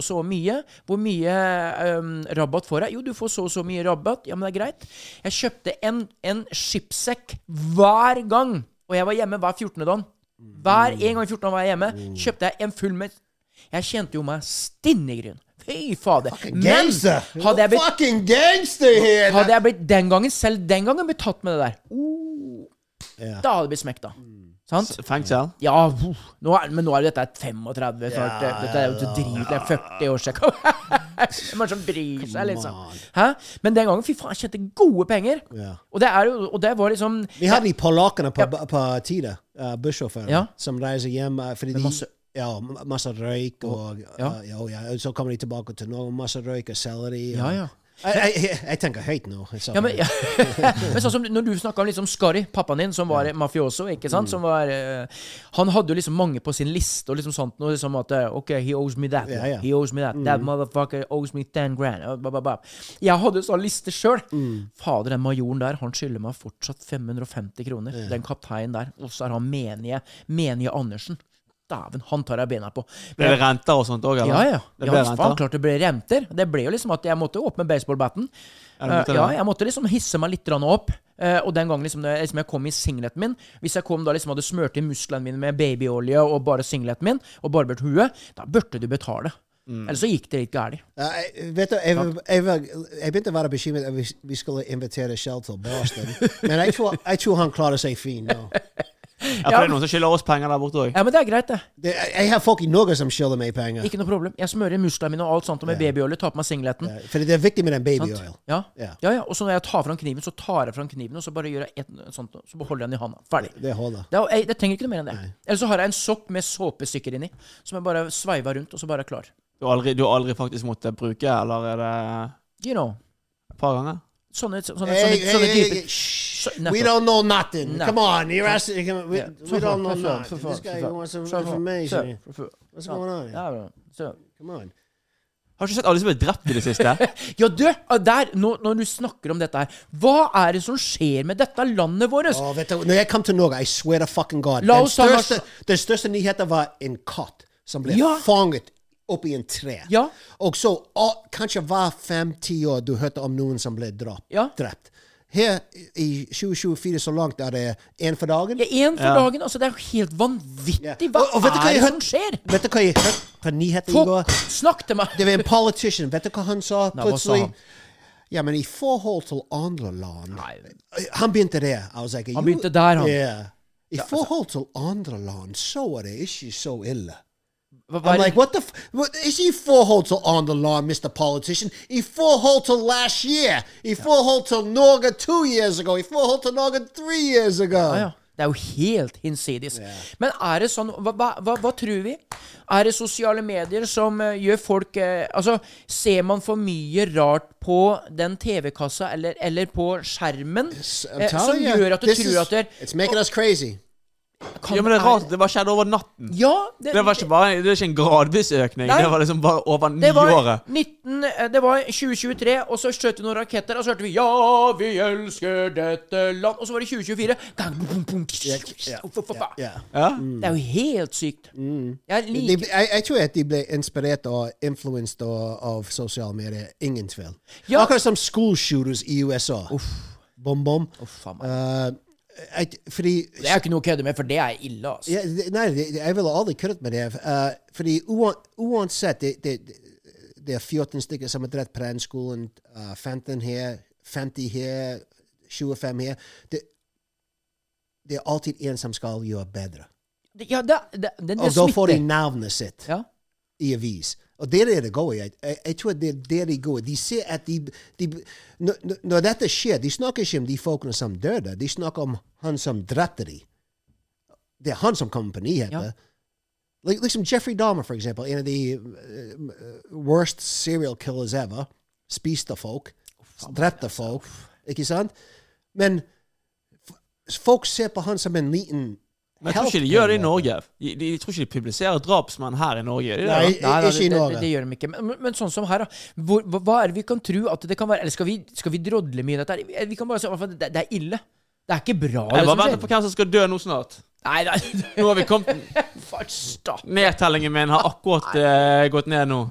[SPEAKER 2] så mye. Hvor mye ehm, rabatt får jeg? Jo, du får så og så mye rabatt. Ja, men det er greit. Jeg kjøpte en, en skipssekk hver gang. Og jeg var hjemme hver 14. dagen. Hver en gang i 14 dagen var jeg hjemme. Kjøpte jeg en full med Jeg kjente jo meg stinnegryn. Fy fader. Men
[SPEAKER 1] Gangster!
[SPEAKER 2] hadde jeg, blitt,
[SPEAKER 1] Fucking gangster here!
[SPEAKER 2] hadde jeg blitt den gangen, selv den gangen, blitt tatt med det der, uh,
[SPEAKER 1] Ja.
[SPEAKER 2] da hadde jeg blitt smekta. Sant?
[SPEAKER 3] Fengsel?
[SPEAKER 2] Ja, uh, nå er, men nå er dette et 35 snart.
[SPEAKER 1] Ja,
[SPEAKER 2] dette er jo til drit. Det er 40 år siden. Hvem er det som bryr seg, liksom? Hæ? Men den gangen, fy faen, jeg tjente gode penger.
[SPEAKER 1] Ja.
[SPEAKER 2] Og, det er, jo- og det var liksom
[SPEAKER 1] Vi har de polakkene på, på Tida, uh, bussjåførene,
[SPEAKER 2] Ja.
[SPEAKER 1] som reiser hjem uh, fordi
[SPEAKER 2] Med
[SPEAKER 1] de
[SPEAKER 2] masse-
[SPEAKER 1] ja, m- masse røyk, og
[SPEAKER 2] Ja.
[SPEAKER 1] uh, ja, og ja, og så kommer de tilbake til Norge, masse røyk og selleri. og-
[SPEAKER 2] Ja, ja.
[SPEAKER 1] Jeg, jeg, jeg, jeg tenker høyt nå. så-
[SPEAKER 2] Ja, men, ja. men sånn som når du snakka om liksom Skari, pappaen din, som var mafioso ikke
[SPEAKER 3] Mm.
[SPEAKER 2] sant? Som var, eh, han hadde jo liksom mange på sin liste, og liksom sånt noe liksom at eh, OK, he owes me that.
[SPEAKER 1] Ja, ja.
[SPEAKER 2] He owes me that. That
[SPEAKER 3] Mm.
[SPEAKER 2] motherfucker owes me 10 grand. og ba, ba, ba. Jeg hadde sånn liste sjøl.
[SPEAKER 3] Mm.
[SPEAKER 2] Fader, den majoren der, han skylder meg fortsatt 550 kroner. Den kapteinen der. Og så er han menige, menige Andersen. Dæven, han tar jeg bena på.
[SPEAKER 3] Ble det renter og sånt òg, eller?
[SPEAKER 2] Ja, ja.
[SPEAKER 3] Det
[SPEAKER 2] ja
[SPEAKER 3] ble
[SPEAKER 2] faen,
[SPEAKER 3] renter.
[SPEAKER 2] klart det ble renter. Det ble jo liksom at jeg måtte åpne baseballbatten.
[SPEAKER 3] Ja, du måtte
[SPEAKER 2] Eh, ja,
[SPEAKER 3] det.
[SPEAKER 2] jeg måtte liksom hisse meg litt grann opp. Eh, og den gangen liksom, når jeg- liksom jeg kom i singleten min Hvis jeg kom da liksom hadde smurt inn musklene mine med babyolje og bare singleten min, og barbert huet, da burde du betale.
[SPEAKER 1] Mm.
[SPEAKER 2] Ellers så gikk det litt gærent.
[SPEAKER 1] Ja, Eh, jeg, vet du, jeg, jeg, var- jeg begynte å være bekymret at vi, vi skulle invitere Shell til Boston, men jeg tror, jeg tror han klarer seg fin nå.
[SPEAKER 3] Ja, for det er noen som skylder oss penger der borte òg.
[SPEAKER 2] Ja, men det er greit, det.
[SPEAKER 1] Det, jeg, jeg har folk i Norge som skylder meg penger.
[SPEAKER 2] Ikke noe problem. Jeg smører musklene mine og alt sånt og med babyolje, tar på meg singleten.
[SPEAKER 1] Ja, eh, Fordi det er viktig med den baby oil.
[SPEAKER 2] Ja.
[SPEAKER 1] Ja.
[SPEAKER 2] ja, ja. Og så når jeg tar fram kniven, så tar jeg fram kniven, og så bare gjør jeg et sånt, så beholder jeg den i handa. Ferdig.
[SPEAKER 1] Det holder.
[SPEAKER 2] Det, er- jeg, det trenger ikke noe mer enn det. Eller så har jeg en sokk med såpestykker inni, som jeg bare sveiver rundt, og så bare er klar.
[SPEAKER 3] Du har aldri, du har aldri faktisk måttet bruke, eller er det
[SPEAKER 2] You know.
[SPEAKER 3] et par ganger?
[SPEAKER 2] Sånne, sånne, sånne,
[SPEAKER 1] Hey,
[SPEAKER 2] sånne
[SPEAKER 1] hey, hey,
[SPEAKER 2] typer.
[SPEAKER 1] hey, shh.
[SPEAKER 2] Så- nettopp.
[SPEAKER 1] we don't know nothing.
[SPEAKER 2] No.
[SPEAKER 1] Come on, you're asking. come on, We,
[SPEAKER 2] Yeah.
[SPEAKER 1] we don't know
[SPEAKER 2] For faen,
[SPEAKER 1] nothing.
[SPEAKER 2] for faen,
[SPEAKER 1] This guy
[SPEAKER 2] for faen.
[SPEAKER 1] wants some
[SPEAKER 2] For faen,
[SPEAKER 1] information.
[SPEAKER 2] for faen.
[SPEAKER 1] What's going on?
[SPEAKER 2] Ja, ja, så-
[SPEAKER 1] Come on.
[SPEAKER 3] Har du ikke sett alle som ble drept i det siste?
[SPEAKER 2] Ja, du! Der, nå, når du snakker om dette her, hva er det som skjer med dette landet vårt?
[SPEAKER 1] Oh, vet du, når jeg kom til Norge, I swear to fucking God
[SPEAKER 2] La
[SPEAKER 1] Den
[SPEAKER 2] oss ta
[SPEAKER 1] største,
[SPEAKER 2] nasjon-
[SPEAKER 1] den største nyheten var en katt som ble
[SPEAKER 2] Ja.
[SPEAKER 1] fanget oppi en tre.
[SPEAKER 2] Ja.
[SPEAKER 1] Og så å, kanskje hver fem-ti år du hørte om noen som ble drap,
[SPEAKER 2] Ja.
[SPEAKER 1] drept. Her i 2024 så langt er det én for dagen.
[SPEAKER 2] Ja, én for dagen. altså Det er jo helt vanvittig. Hva
[SPEAKER 1] Og- og vet du hva
[SPEAKER 2] er
[SPEAKER 1] jeg
[SPEAKER 2] det
[SPEAKER 1] hør-
[SPEAKER 2] som skjer?
[SPEAKER 1] Vet du hva jeg hørte på nyheter i går?
[SPEAKER 2] Folk, snakk til meg!
[SPEAKER 1] Det var en politician. Vet du hva han sa?
[SPEAKER 2] Nei, hva sa
[SPEAKER 1] Plutselig-
[SPEAKER 2] han?
[SPEAKER 1] Ja, men i forhold til andre land Han begynte der. I was like,
[SPEAKER 2] Han
[SPEAKER 1] you-
[SPEAKER 2] begynte der, han.
[SPEAKER 1] Yeah. I forhold til andre land så er det ikke så ille.
[SPEAKER 2] Hva- hva er
[SPEAKER 1] I'm
[SPEAKER 2] det-
[SPEAKER 1] like, what the f- what, Ikke i forhold til andre land, Mr. Politician. I forhold til last year. I forhold til Norge two years ago. I forhold til Norge three years ago.
[SPEAKER 2] Ja, ja. Det er jo helt hinsides. Men er det sånn hva, hva, hva, hva tror vi? Er det sosiale medier som eh, gjør folk eh, Altså, ser man for mye rart på den TV-kassa eller, eller på skjermen
[SPEAKER 1] I'm
[SPEAKER 2] eh, som
[SPEAKER 1] telling you,
[SPEAKER 2] gjør at du
[SPEAKER 1] this
[SPEAKER 2] tror
[SPEAKER 1] is-
[SPEAKER 2] at det er
[SPEAKER 1] It's making us crazy.
[SPEAKER 2] kan-
[SPEAKER 3] Ja, men det er rart. Det bare skjedde over natten.
[SPEAKER 2] Ja,
[SPEAKER 3] Det var ikke bare, det er ikke en gradvis økning.
[SPEAKER 2] Nei.
[SPEAKER 3] Det var liksom bare over
[SPEAKER 2] det var,
[SPEAKER 3] nyåret.
[SPEAKER 2] 19, eh, det var 2023, og så skjøt vi noen raketter, og så hørte vi 'Ja, vi elsker dette land', og så var det 2024. Gang, bum, bum,
[SPEAKER 1] Ja. Mm.
[SPEAKER 3] Ja?
[SPEAKER 2] Det er jo helt sykt. Jeg
[SPEAKER 1] De,
[SPEAKER 2] liker
[SPEAKER 1] jeg, jeg tror at de ble inspirert og influenced av, av sosiale medier. Ingen tvil.
[SPEAKER 2] Ja.
[SPEAKER 1] Akkurat som school shooters i USA. Bom, bom.
[SPEAKER 2] faen meg.
[SPEAKER 1] Eh, jeg- fordi
[SPEAKER 2] Det er jo ikke noe å kødde med, for det er ille, altså.
[SPEAKER 1] ja, det- Nei, det- det- jeg ville aldri køddet med det. eh, fordi uan, uansett det, det, det er 14 stykker som er drept på den skolen. eh, 15 her, 50 her, 25 her. Det, det er alltid en som skal gjøre bedre.
[SPEAKER 2] Det- Ja, det, det, det, det
[SPEAKER 1] Og da får de
[SPEAKER 2] smitter.
[SPEAKER 1] navnet sitt.
[SPEAKER 2] Ja.
[SPEAKER 1] i avis. Og det er det det går i. Jeg, jeg, jeg tror det er det de går i. De ser at de, de når, når- når dette skjer, de snakker ikke om de folkene som døde, de snakker om han som drepte de. Det er han som kommer på nyheter.
[SPEAKER 2] Ja.
[SPEAKER 1] Lik- Liksom Jeffrey Dahmer, for eksempel. En av de eh, worst serial killers ever. Spiste folk. Drepte folk. Ikke sant? Men f folk ser på han som en liten
[SPEAKER 3] Men jeg tror ikke de gjør det i
[SPEAKER 1] eh?
[SPEAKER 3] Norge. De, de, de tror ikke de publiserer drapsmenn her i Norge. De,
[SPEAKER 1] Nei,
[SPEAKER 2] Nei, da,
[SPEAKER 1] ikke i
[SPEAKER 2] det,
[SPEAKER 1] Norge.
[SPEAKER 2] det, det gjør de ikke. Men, men- men sånn som her, da. Hvor, hva, hva er det vi kan tro at det kan være? Eller skal vi, skal vi drodle mye i dette? her? Vi- Vi kan bare si at det, det er ille. Det er ikke bra,
[SPEAKER 3] jeg bare
[SPEAKER 2] det som
[SPEAKER 3] venter
[SPEAKER 2] skjer.
[SPEAKER 3] på hvem som skal dø nå snart.
[SPEAKER 2] Nei, nei.
[SPEAKER 3] Nå har vi kommet
[SPEAKER 2] Fart, stopp.
[SPEAKER 3] Nedtellingen min har akkurat eh, gått ned nå.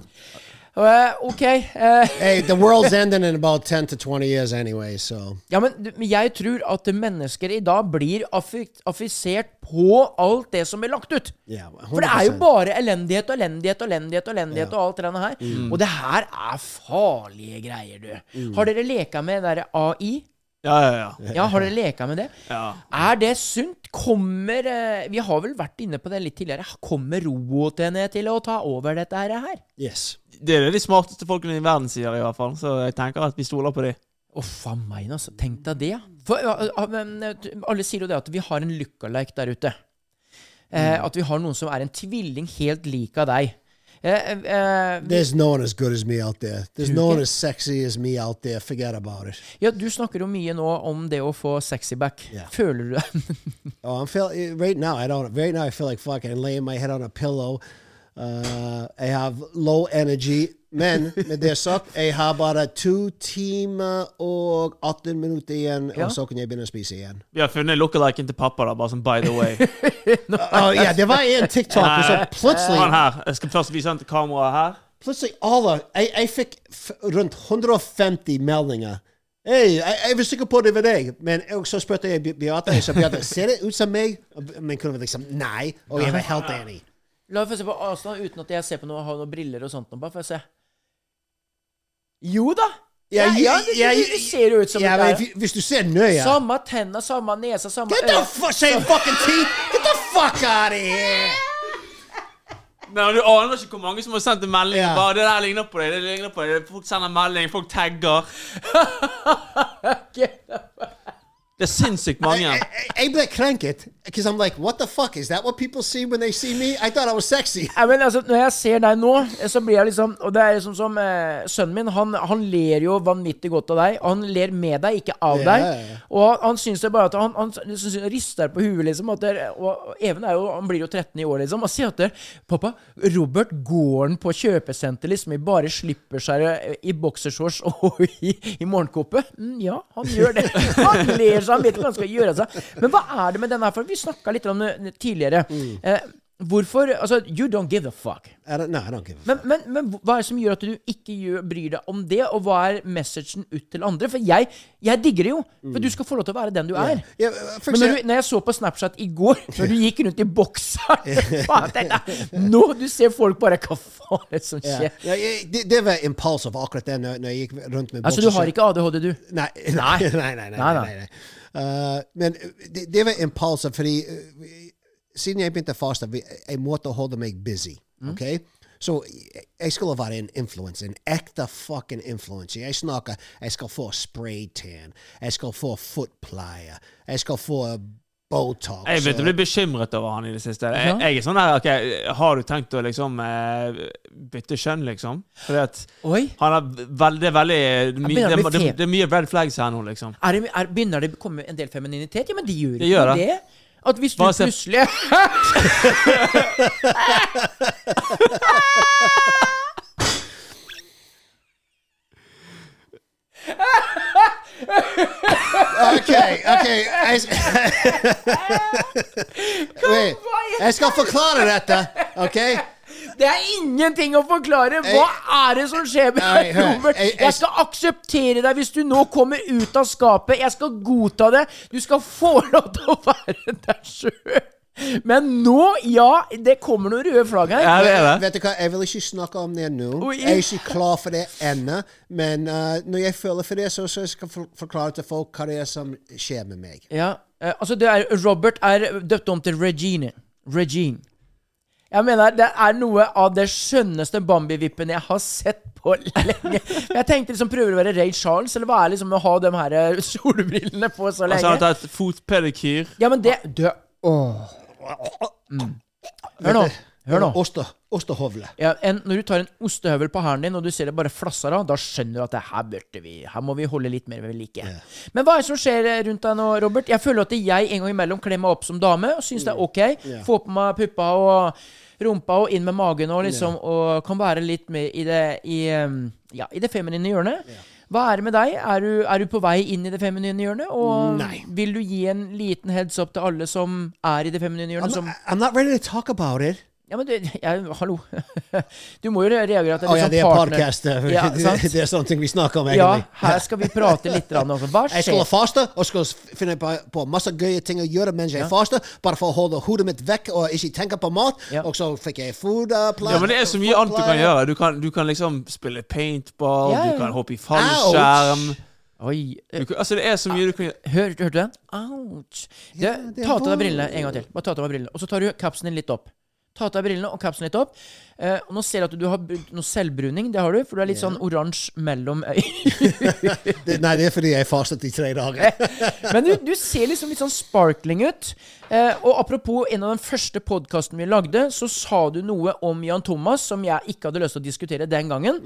[SPEAKER 2] Eh, OK. eh,
[SPEAKER 1] Hey, the world's ending in about 10 to 20 years anyway, so.
[SPEAKER 2] Ja, men du- men jeg tror at mennesker i dag blir affi- affisert på alt det som blir lagt ut.
[SPEAKER 1] Yeah,
[SPEAKER 2] For det er jo
[SPEAKER 1] 100%.
[SPEAKER 2] bare elendighet og elendighet og elendighet og elendighet og alt det der her. Og det her er farlige greier, du. Har dere leka med det der AI?
[SPEAKER 3] Ja, ja, ja.
[SPEAKER 2] Ja, har dere leka med det? Er det sunt? Kommer eh, Vi har vel vært inne på det litt tidligere. Kommer robotene til å ta over dette her? her?
[SPEAKER 1] Yes.
[SPEAKER 3] Det er det de smarteste folkene i verden sier, i hvert fall. Så jeg tenker at vi stoler på de.
[SPEAKER 2] Å, faen meg, altså. Tenk deg det. ja. For, ja, ja, men, eh, alle sier jo det at vi har en lookalike der ute. Eh, at vi har noen som er en tvilling helt lik av deg. Eh, eh, vi-
[SPEAKER 1] There's no one as good as me out there. There's
[SPEAKER 2] Dude,
[SPEAKER 1] no one
[SPEAKER 2] yeah.
[SPEAKER 1] as sexy as me out there. Forget about it.
[SPEAKER 2] ja, du snakker jo mye nå om det å få sexy back.
[SPEAKER 1] Ja.
[SPEAKER 2] Føler du det?
[SPEAKER 1] Oh, I'm feel right now. I don't. Right now, I feel like fucking laying my head on a pillow. Uh, I have low energy. Men med det sagt, jeg har bare to timer og 18 minutter igjen,
[SPEAKER 2] Ja.
[SPEAKER 1] og så kan jeg begynne å spise igjen.
[SPEAKER 3] Vi har funnet lookaliken til pappa, da, bare sånn by the way.
[SPEAKER 1] Oh, ja, det var en TikTok, og så plutselig
[SPEAKER 3] Han her. Jeg skal først vise han til kameraet her.
[SPEAKER 1] Plutselig alle Jeg, jeg fikk f rundt 150 meldinger. Hei, jeg, jeg var sikker på det var deg, men og så spurte jeg Be- Beate. Jeg sa Beate, ser det ut som meg? Og Be- Men kunne være liksom nei. Og jeg var helt enig.
[SPEAKER 2] La meg få se på avstand uten at jeg ser på noe, har noen briller og sånt. nå, Bare for å se. Jo da!
[SPEAKER 1] Ja, ja,
[SPEAKER 2] ja, det, det,
[SPEAKER 1] ja,
[SPEAKER 2] det, det ser jo ut som
[SPEAKER 1] Ja,
[SPEAKER 2] det
[SPEAKER 1] men
[SPEAKER 2] er.
[SPEAKER 1] hvis- Hvis du ser nøye
[SPEAKER 2] Samme tenna, samme nesa, samme
[SPEAKER 1] Get the fuck, say fucking teeth! Get the fuck out of here!
[SPEAKER 3] Nei, Du aner ikke hvor mange som har sendt en melding.
[SPEAKER 1] Ja.
[SPEAKER 3] Bare, det der ligner på deg, det ligner på deg. Folk sender melding, folk tagger. Det er sinnssykt mange.
[SPEAKER 1] I, I, I ble krenket, because I'm like, what the fuck? Is that what people see when they see me? I thought I was sexy.
[SPEAKER 2] Nei, men altså, Når jeg ser deg nå, eh, så blir jeg liksom Og det er liksom som eh, Sønnen min han, han ler jo vanvittig godt av deg. og Han ler med deg, ikke av
[SPEAKER 1] Ja,
[SPEAKER 2] deg.
[SPEAKER 1] ja, ja.
[SPEAKER 2] Og han, han syns det bare at Han, han syns, han rister på huet, liksom. At det, er- og og Even er jo, han blir jo 13 i år, liksom. Og sier at det, 'Pappa, Robert går han på kjøpesenter liksom i bare slipperskjæret, i boksershorts og i, i morgenkåpe?' Mm, ja, han gjør det. Han altså. ler så han vet ikke hva han skal gjøre av seg. Men hva er det med den her? For vi snakka litt om det tidligere. Eh, Hvorfor Altså, you don't give a fuck.
[SPEAKER 1] I don't, no, I don't give a
[SPEAKER 2] Men, men, men hva er det som gjør at du ikke gjør, bryr deg om det, og hva er messagen ut til andre? For jeg, jeg digger det jo. For du skal få lov til å være den du er.
[SPEAKER 1] Ja, for
[SPEAKER 2] men når,
[SPEAKER 1] eksempel-
[SPEAKER 2] du, når jeg så på Snapchat i går, når du gikk rundt i bokseren faen, dette- Nå du ser folk bare Hva faen er det som
[SPEAKER 1] Ja.
[SPEAKER 2] skjer?
[SPEAKER 1] Ja, jeg- det, det var impuls av akkurat det når, når jeg gikk rundt med
[SPEAKER 2] Altså, du
[SPEAKER 1] boksershorts.
[SPEAKER 2] har ikke ADHD, du?
[SPEAKER 1] Nei.
[SPEAKER 2] Nei.
[SPEAKER 1] nei, nei, nei, nei,
[SPEAKER 2] Nei, nei.
[SPEAKER 1] nei, nei. Uh, men det, det var impulser, fordi uh, vi- siden jeg begynte å faste, vi- jeg måtte holde meg busy.
[SPEAKER 2] Mm.
[SPEAKER 1] ok? Så jeg- jeg skulle være en influencer, en ekte fucking influencer. Jeg snakker jeg skal få spraytan, jeg skal få footplier, jeg skal få Botox.
[SPEAKER 3] Jeg begynte å
[SPEAKER 1] og-
[SPEAKER 3] bli bekymret over han i det siste. Jeg,
[SPEAKER 2] Ja.
[SPEAKER 3] jeg er sånn der, ok, Har du tenkt å liksom eh, bytte kjønn, liksom? Fordi at
[SPEAKER 2] Oi.
[SPEAKER 3] han er veldig, det er veldig my,
[SPEAKER 2] begynner
[SPEAKER 3] det, er-
[SPEAKER 2] å bli
[SPEAKER 3] det,
[SPEAKER 2] fe-
[SPEAKER 3] det er mye red flags her nå, liksom.
[SPEAKER 2] Er det, er, begynner det å komme en del femininitet? Ja, men de gjør
[SPEAKER 3] Det
[SPEAKER 2] ikke
[SPEAKER 3] gjør det.
[SPEAKER 2] det. At hvis du
[SPEAKER 3] Bare se-
[SPEAKER 2] plutselig
[SPEAKER 1] Okay, okay. Jeg, Wait, jeg skal forklare dette, OK?
[SPEAKER 2] Det er ingenting å forklare! Hva er det som skjer
[SPEAKER 1] Nei,
[SPEAKER 2] med
[SPEAKER 1] hør,
[SPEAKER 2] Robert?
[SPEAKER 1] jeg- jeg-
[SPEAKER 2] Jeg skal akseptere deg hvis du nå kommer ut av skapet. Jeg skal godta det. Du skal få lov til å være deg sjøl. Men nå, ja, det kommer noen røde flagg her.
[SPEAKER 3] Ja, det er det.
[SPEAKER 1] Vet du hva, Jeg vil ikke snakke om det nå.
[SPEAKER 2] Oi.
[SPEAKER 1] Jeg er ikke klar for det ennå. Men eh, når jeg føler for det, så, så skal jeg for- forklare til folk hva det er som skjer med meg.
[SPEAKER 2] Ja, eh, altså det er, Robert er døpt om til Regine. Regine. Jeg mener, det er noe av det skjønneste Bambi-vippen jeg har sett på lenge. Jeg tenkte liksom prøver å være Ray Charles, eller hva er liksom å ha de her eh, solbrillene på
[SPEAKER 3] Altså,
[SPEAKER 2] så
[SPEAKER 3] han har
[SPEAKER 2] lenge?
[SPEAKER 3] tatt fotpedikyr.
[SPEAKER 2] Ja, men
[SPEAKER 1] Ah,
[SPEAKER 2] det du, åh. Mm. Hør nå. Hør nå.
[SPEAKER 1] Oste, ostehovle.
[SPEAKER 2] Ja, en, når du tar en ostehøvel på hælen din, og du ser det bare flasser av, da skjønner du at det her burde vi Her må vi holde litt mer ved like. Men hva er det som skjer eh, rundt deg nå, Robert? Jeg føler at jeg en gang imellom kler meg opp som dame og syns det er ok.
[SPEAKER 1] Mm. Ja.
[SPEAKER 2] Få på meg puppa og rumpa og inn med magen og liksom Og kan være litt mer i det i, um, ja, i det feminine hjørnet. Hva er det med deg? Er du, er du på vei inn i det feminine hjørnet? Og
[SPEAKER 1] Nei.
[SPEAKER 2] vil du gi en liten heads up til alle som er i det feminine
[SPEAKER 1] I'm,
[SPEAKER 2] hjørnet? som
[SPEAKER 1] not- I'm not ready to talk about it.
[SPEAKER 2] ja, men du, jeg, hallo. Du må jo reagere at det
[SPEAKER 1] Å ja,
[SPEAKER 2] er
[SPEAKER 1] det er
[SPEAKER 2] liksom partner.
[SPEAKER 1] podcast. eh,
[SPEAKER 2] Ja, sant?
[SPEAKER 1] det, det er sånne ting vi snakker om,
[SPEAKER 2] Ja,
[SPEAKER 1] egentlig.
[SPEAKER 2] her skal vi prate litt grann om hva
[SPEAKER 1] Jeg skulle
[SPEAKER 2] skjer.
[SPEAKER 1] faste og skulle s- finne på, på masse gøye ting å gjøre mens jeg faster, bare for å holde hodet mitt vekk og ikke tenke på mat.
[SPEAKER 2] Ja.
[SPEAKER 1] Og så fikk jeg uh, foodplan.
[SPEAKER 3] Ja, men det er så mye annet du kan gjøre. Du kan, du kan liksom spille paintball,
[SPEAKER 2] Ja, ja.
[SPEAKER 3] du kan hoppe i fallskjerm
[SPEAKER 2] Oi.
[SPEAKER 3] du, kan- Altså, det er så mye du kan gjøre.
[SPEAKER 2] Hør, hørte du den? Ouch. Du,
[SPEAKER 1] Ja, det er
[SPEAKER 2] ta av deg
[SPEAKER 1] vondt.
[SPEAKER 2] brillene en gang til. Bare ta av deg brillene. Og så tar du kapsen din litt opp. Ta av deg brillene og kapsen litt opp. Eh, og nå ser jeg at du har brukt noe selvbruning. Det har du, for du er litt sånn oransje mellom øynene.
[SPEAKER 1] Det- Nei, det er fordi jeg fastet i tre dager.
[SPEAKER 2] Men du, du ser liksom litt sånn sparkling ut. Eh, og apropos en av den første podkasten vi lagde, så sa du noe om Jan Thomas som jeg ikke hadde lyst til å diskutere den gangen.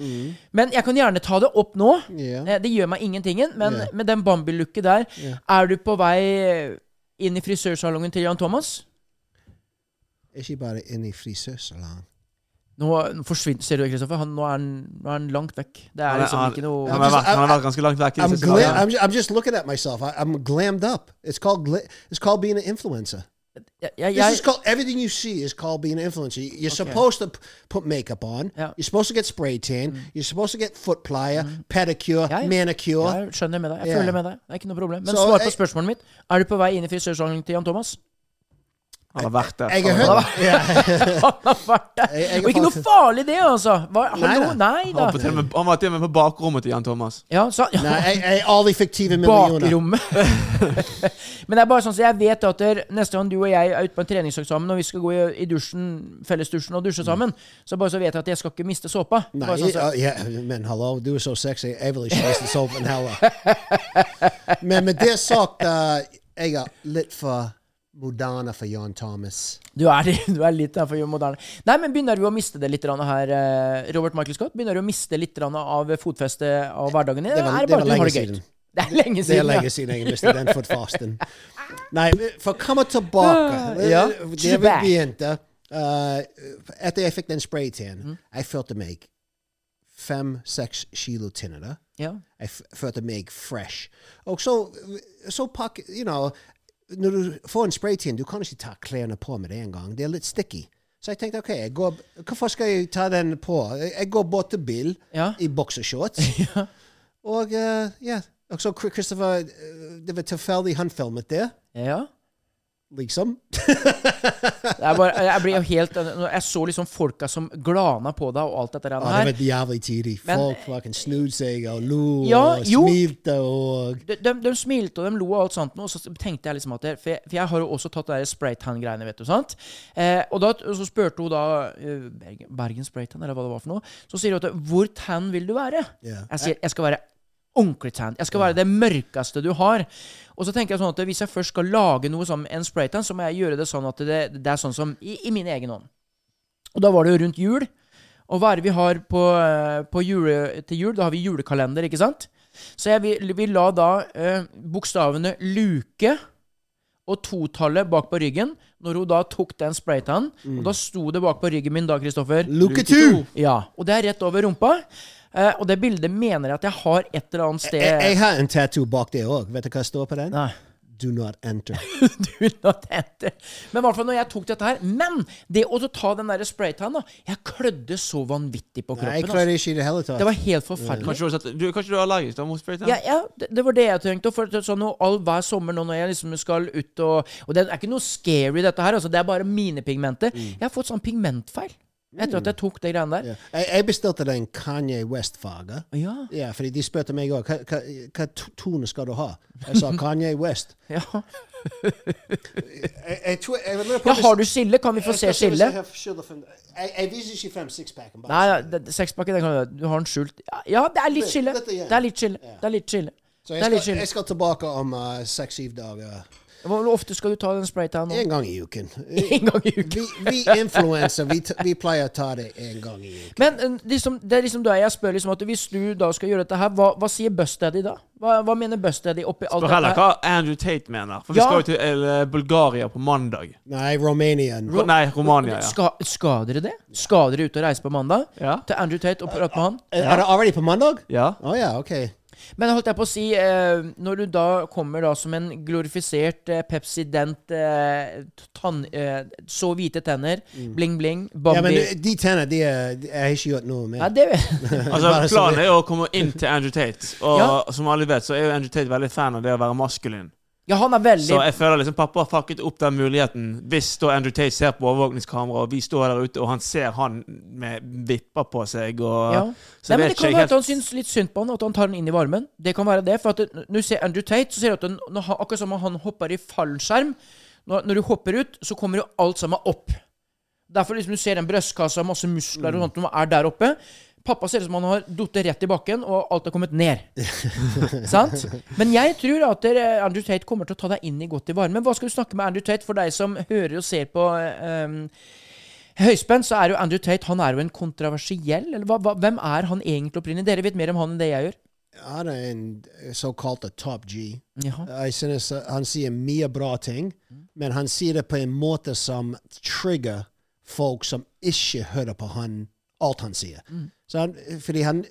[SPEAKER 2] Men jeg kan gjerne ta det opp nå.
[SPEAKER 1] Mm. Ja.
[SPEAKER 2] Eh, det gjør meg ingentingen. Men
[SPEAKER 1] Ja.
[SPEAKER 2] med den Bambi-looket der, er du på vei inn i frisørsalongen til Jan Thomas?
[SPEAKER 1] Er Ikke bare inn i frisørsalongen.
[SPEAKER 2] Nå forsvinner, Ser du det, Kristoffer? Han, nå, er han- nå er han langt vekk. Det er
[SPEAKER 3] Han, er-
[SPEAKER 2] liksom
[SPEAKER 3] han,
[SPEAKER 2] ikke
[SPEAKER 3] han,
[SPEAKER 2] noe
[SPEAKER 3] har vært, han har vært ganske langt vekk. i det
[SPEAKER 1] I'm,
[SPEAKER 3] siste
[SPEAKER 1] gla-
[SPEAKER 3] dagen.
[SPEAKER 1] I'm, ju- I'm just looking at myself. I, I'm glammed up. It's called gla- it's called being an influencer.
[SPEAKER 2] jeg, jeg,
[SPEAKER 1] This is called everything you see is called being an influencer. You're supposed to p- put makeup on.
[SPEAKER 2] Yeah.
[SPEAKER 1] You're supposed to get spray tan. You're supposed to get foot plier, pedicure,
[SPEAKER 2] Mm. Ja, ja.
[SPEAKER 1] manicure.
[SPEAKER 2] Jeg skjønner med deg. Jeg
[SPEAKER 1] Ja.
[SPEAKER 2] føler med deg. Det er ikke noe problem. Men
[SPEAKER 1] Så,
[SPEAKER 2] svar på
[SPEAKER 1] jeg-
[SPEAKER 2] spørsmålet mitt. Er du på vei inn i frisørsalongen til Jan Thomas?
[SPEAKER 3] Han har vært der.
[SPEAKER 1] Jeg har hørt
[SPEAKER 2] Han har vært der.
[SPEAKER 1] Jeg- jeg er
[SPEAKER 2] Og ikke noe
[SPEAKER 1] faktisk-
[SPEAKER 2] farlig det, altså. Hva, hallo? Nei
[SPEAKER 3] Han var på
[SPEAKER 2] da.
[SPEAKER 3] til og med- han var til og med på bakrommet til Jan Thomas.
[SPEAKER 2] Ja, så,
[SPEAKER 1] Nei, jeg, jeg, alle fiktive millioner.
[SPEAKER 2] Bakrommet. Men det er bare sånn så jeg vet at der, neste gang du og jeg er ute på en treningseksamen, og vi skal gå i, i dusjen, fellesdusjen og dusje sammen, så bare så vet jeg at jeg skal ikke miste såpa.
[SPEAKER 1] Mm. Nei,
[SPEAKER 2] Bare sånn, så,
[SPEAKER 1] ja, ja, men hallo, du er så sexy. Jeg vil ikke miste såpen heller. Men med det sagt, eh, jeg er litt for moderne for Jan Thomas.
[SPEAKER 2] du, er, du er litt der for moderne. Nei, men begynner du å miste det litt grann her, eh, Robert Michael Scott? Begynner du å miste litt grann av fotfestet av hverdagen din?
[SPEAKER 1] Det
[SPEAKER 2] Eller
[SPEAKER 1] var-
[SPEAKER 2] er
[SPEAKER 1] det
[SPEAKER 2] det bare
[SPEAKER 1] var
[SPEAKER 2] at du har
[SPEAKER 1] lenge
[SPEAKER 2] det gøy?
[SPEAKER 1] siden.
[SPEAKER 2] Det er lenge
[SPEAKER 1] Det er
[SPEAKER 2] siden.
[SPEAKER 1] lenge siden jeg mistet den fotfasten. Nei, for å komme tilbake
[SPEAKER 2] Ja,
[SPEAKER 1] eh, Det vi
[SPEAKER 2] tilbake.
[SPEAKER 1] begynte eh, Etter jeg fikk den spraytan, jeg følte meg fem-seks kilo tynnere.
[SPEAKER 2] Ja.
[SPEAKER 1] Jeg f- følte meg fresh. Oh, Og så, så pakke, you know, når du får en spraytan, du kan ikke ta klærne på med det en gang. Det er litt sticky. Så jeg tenkte OK, jeg går, hvorfor skal jeg ta den på? Jeg jeg går bort til Bill
[SPEAKER 2] Ja.
[SPEAKER 1] i boksershorts. Og eh, ja, og så Christopher eh, Det var tilfeldig han filmet det,
[SPEAKER 2] Ja.
[SPEAKER 1] liksom.
[SPEAKER 2] Det er bare, jeg blir jo helt når Jeg så liksom folka som glana på deg og alt dette der.
[SPEAKER 1] Å, det var jævlig tidlig.
[SPEAKER 2] Men-
[SPEAKER 1] Folk fucking snudde seg og lo
[SPEAKER 2] Ja,
[SPEAKER 1] og
[SPEAKER 2] jo.
[SPEAKER 1] smilte og
[SPEAKER 2] de, de, de smilte og de lo og alt sånt, nå, og så tenkte jeg liksom at det, for, jeg, for jeg har jo også tatt det der spraytan-greiene, vet du. sant? Eh, og da og så spurte hun da eh, Bergen, Bergen spraytan, eller hva det var for noe. Så sier hun at hvor tan vil du være?
[SPEAKER 1] Ja.
[SPEAKER 2] Jeg sier jeg skal være ordentlig tan. Jeg skal være det mørkeste du har. Og så tenker jeg sånn at hvis jeg først skal lage noe som en spraytan, så må jeg gjøre det sånn at det, det er sånn som i, i min egen hånd. Og da var det jo rundt jul. Og hva er det vi har på, eh, på jule, til jul? Da har vi julekalender, ikke sant? Så jeg vil, vil la da eh, bokstavene luke og totallet bak på ryggen, når hun da tok den spraytanen. Og da sto det bak på ryggen min da, Kristoffer.
[SPEAKER 1] Look at you!
[SPEAKER 2] Ja, og det er rett over rumpa. Eh, og det bildet mener jeg at jeg har et eller annet sted
[SPEAKER 1] Jeg, jeg har en tattoo bak det òg. Vet du hva det står på den?
[SPEAKER 2] Nei.
[SPEAKER 1] Do not enter.
[SPEAKER 2] Do not enter. Men i hvert fall når jeg tok dette her Men det å ta den der spraytanen, da. Jeg klødde så vanvittig på kroppen.
[SPEAKER 1] Nei, jeg
[SPEAKER 2] altså.
[SPEAKER 1] klarer ikke i det hele tatt.
[SPEAKER 2] Det var helt forferdelig.
[SPEAKER 3] Kanskje du, har sett, du, kanskje du er allergisk da, mot spraytan?
[SPEAKER 2] Ja, ja, det, det var det jeg tenkte. For det er sånn, og all, hver sommer nå når jeg liksom skal ut og Og det er ikke noe scary, dette her. Altså, det er bare mine pigmenter. Jeg har fått sånn pigmentfeil etter at jeg tok de greiene der.
[SPEAKER 1] Ja. Jeg, jeg bestilte den Kanye West-farge.
[SPEAKER 2] Ja.
[SPEAKER 1] Ja, fordi de spurte meg òg hva, hva, hva to- tone skal du ha. Jeg sa Kanye West.
[SPEAKER 2] ja.
[SPEAKER 1] Jeg, jeg tror, jeg, lurer på
[SPEAKER 2] ja
[SPEAKER 1] hvis-
[SPEAKER 2] har du skille? Kan vi få se skille?
[SPEAKER 1] Jeg, skylder for- jeg, jeg viser ikke frem sixpacken. bare.
[SPEAKER 2] Nei, ja, det- sekspakke, det kan du Du har den skjult. Ja, Ja, det er litt skille.
[SPEAKER 1] Dette igjen.
[SPEAKER 2] Det er litt skille. Det er litt skille.
[SPEAKER 1] Så
[SPEAKER 2] Det
[SPEAKER 1] jeg
[SPEAKER 2] er litt
[SPEAKER 1] skal,
[SPEAKER 2] skille.
[SPEAKER 1] jeg skal tilbake om uh, seks-syv dager.
[SPEAKER 2] Hvor ofte skal du ta den spraytanen?
[SPEAKER 1] En gang i uken.
[SPEAKER 2] Mm. En gang i uken.
[SPEAKER 1] Vi, vi influenser, vi, t- vi pleier å ta det en gang i uken.
[SPEAKER 2] Men eh, liksom, det er liksom da jeg spør liksom at hvis du da skal gjøre dette her, hva, hva sier Bust Daddy da? Hva, hva mener Bust Daddy oppi alt
[SPEAKER 3] Spør
[SPEAKER 2] dette
[SPEAKER 3] heller
[SPEAKER 2] her?
[SPEAKER 3] hva Andrew Tate mener. For vi
[SPEAKER 2] Ja.
[SPEAKER 3] skal jo til eh, Bulgaria på mandag.
[SPEAKER 1] Nei, Romanian.
[SPEAKER 3] Ro Nei, Romania, ja.
[SPEAKER 2] Ska, skal dere det? Skal dere ut og reise på mandag?
[SPEAKER 3] Ja.
[SPEAKER 2] Til Andrew Tate og prate med han?
[SPEAKER 1] Eh, Er er det allerede på mandag?
[SPEAKER 3] ja.
[SPEAKER 1] Å ja, OK.
[SPEAKER 2] Men holdt jeg på å si, eh, når du da kommer da som en glorifisert eh, Pepsi Dent eh, tann, eh, Så hvite tenner, bling-bling,
[SPEAKER 1] Mm. Ja,
[SPEAKER 2] Bambi
[SPEAKER 1] men de tenner, de er de- Jeg har ikke gjort noe med
[SPEAKER 2] Nei, det vet
[SPEAKER 3] Altså,
[SPEAKER 1] Bare så
[SPEAKER 3] planen
[SPEAKER 1] det-
[SPEAKER 3] er jo å komme inn til Andrew Tate. Og
[SPEAKER 2] Ja.
[SPEAKER 3] som alle vet, så er jo Andrew Tate veldig fan av det å være maskulin.
[SPEAKER 2] Ja, han er veldig
[SPEAKER 3] Så jeg føler liksom pappa har fucket opp den muligheten. Hvis da Andrew Tate ser på overvåkningskamera, og vi står der ute, og han ser han med vipper på seg, og eh,
[SPEAKER 2] Ja.
[SPEAKER 3] så
[SPEAKER 2] Nei, men
[SPEAKER 3] vet
[SPEAKER 2] Det kan
[SPEAKER 3] ikke
[SPEAKER 2] være
[SPEAKER 3] jeg
[SPEAKER 2] at han
[SPEAKER 3] helt
[SPEAKER 2] syns litt synd på han, at han tar den inn i varmen. Det kan være det, for at det- Når du ser Andrew Tate, så ser du at den, når han, akkurat som om han hopper i fallskjerm når, når du hopper ut, så kommer jo alt sammen opp. Derfor liksom du ser den brystkassa, masse muskler
[SPEAKER 3] Mm.
[SPEAKER 2] og sånt, når man er der oppe. Pappa ser ut som han har falt rett i bakken, og alt har kommet ned. Sant? Men jeg tror at dere- Andrew Tate kommer til å ta deg inn i godt i varmen. Hva skal du snakke med Andrew Tate for deg som hører og ser på eh, Høyspent så er jo Andrew Tate han er jo en kontroversiell eller hva, hva, Hvem er han egentlig opprinnelig? Dere vet mer om han enn det jeg gjør.
[SPEAKER 1] Han er en såkalt a top G.
[SPEAKER 2] Jaha.
[SPEAKER 1] Jeg synes han sier mye bra ting, men han sier det på en måte som trigger folk som ikke hører på han, alt han sier. Så han, fordi han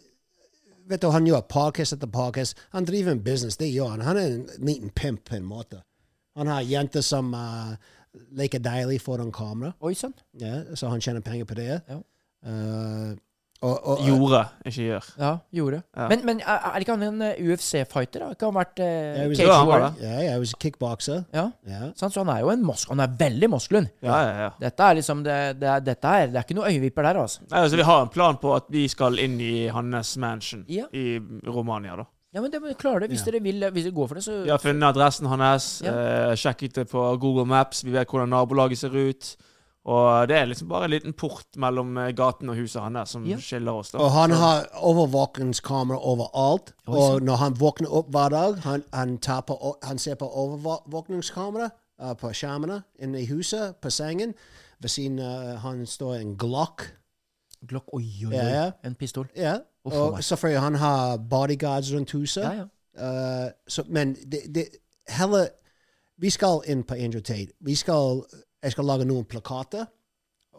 [SPEAKER 1] vet du, han gjør podcast etter podcast. Han driver en business, det gjør han. Han er en liten pimp på en måte. Han har jenter som eh, leker deilig foran kamera,
[SPEAKER 2] Oi sann.
[SPEAKER 1] ja, så han tjener penger på det.
[SPEAKER 2] Ja.
[SPEAKER 1] Eh, og, og,
[SPEAKER 3] Gjorde, ikke gjør.
[SPEAKER 2] Ja, gjorde.
[SPEAKER 3] Ja.
[SPEAKER 2] Men, men er er ikke han en eh, UFC-fighter? da? Ikke han vært eh,
[SPEAKER 1] Jeg vil si-
[SPEAKER 2] cage
[SPEAKER 3] Ja, han var
[SPEAKER 2] warrior?
[SPEAKER 3] det.
[SPEAKER 1] Ja, jeg var kickbokser.
[SPEAKER 2] Ja,
[SPEAKER 1] Ja.
[SPEAKER 2] sant? Så han er jo en mosk... Han er veldig mosklund.
[SPEAKER 3] Ja, ja, ja.
[SPEAKER 2] Dette er liksom det, det, er, dette er, det er ikke noe øyevipper der, altså.
[SPEAKER 3] Nei, altså, vi har en plan på at vi skal inn i hans mansion
[SPEAKER 2] Ja.
[SPEAKER 3] i Romania, da.
[SPEAKER 2] Ja, men det må dere klare det. Hvis dere vil, eh, hvis dere går for det, så
[SPEAKER 3] Vi har funnet adressen hans,
[SPEAKER 2] Ja.
[SPEAKER 3] eh, sjekket det på Google Maps, vi vet hvordan nabolaget ser ut. Og det er liksom bare en liten port mellom eh, gaten og huset hans som
[SPEAKER 2] Ja.
[SPEAKER 3] skiller oss. da.
[SPEAKER 1] Og han har overvåkingskamera overalt.
[SPEAKER 2] Oi,
[SPEAKER 1] og når han våkner opp hver dag, han, han, tar på, o- han ser på overvåkingskamera eh, på skjermene inne i huset, på sengen. Ved siden av eh, han står en Glock.
[SPEAKER 2] Glock, oi, oi, oi.
[SPEAKER 1] Ja, ja.
[SPEAKER 2] En pistol.
[SPEAKER 1] Ja.
[SPEAKER 2] Uff,
[SPEAKER 1] Og
[SPEAKER 2] meg.
[SPEAKER 1] selvfølgelig han har bodyguards rundt huset.
[SPEAKER 2] Ja, ja.
[SPEAKER 1] Eh, så, men det, det, heller Vi skal inn på Andrew Tate. Vi skal, jeg skal lage noen plakater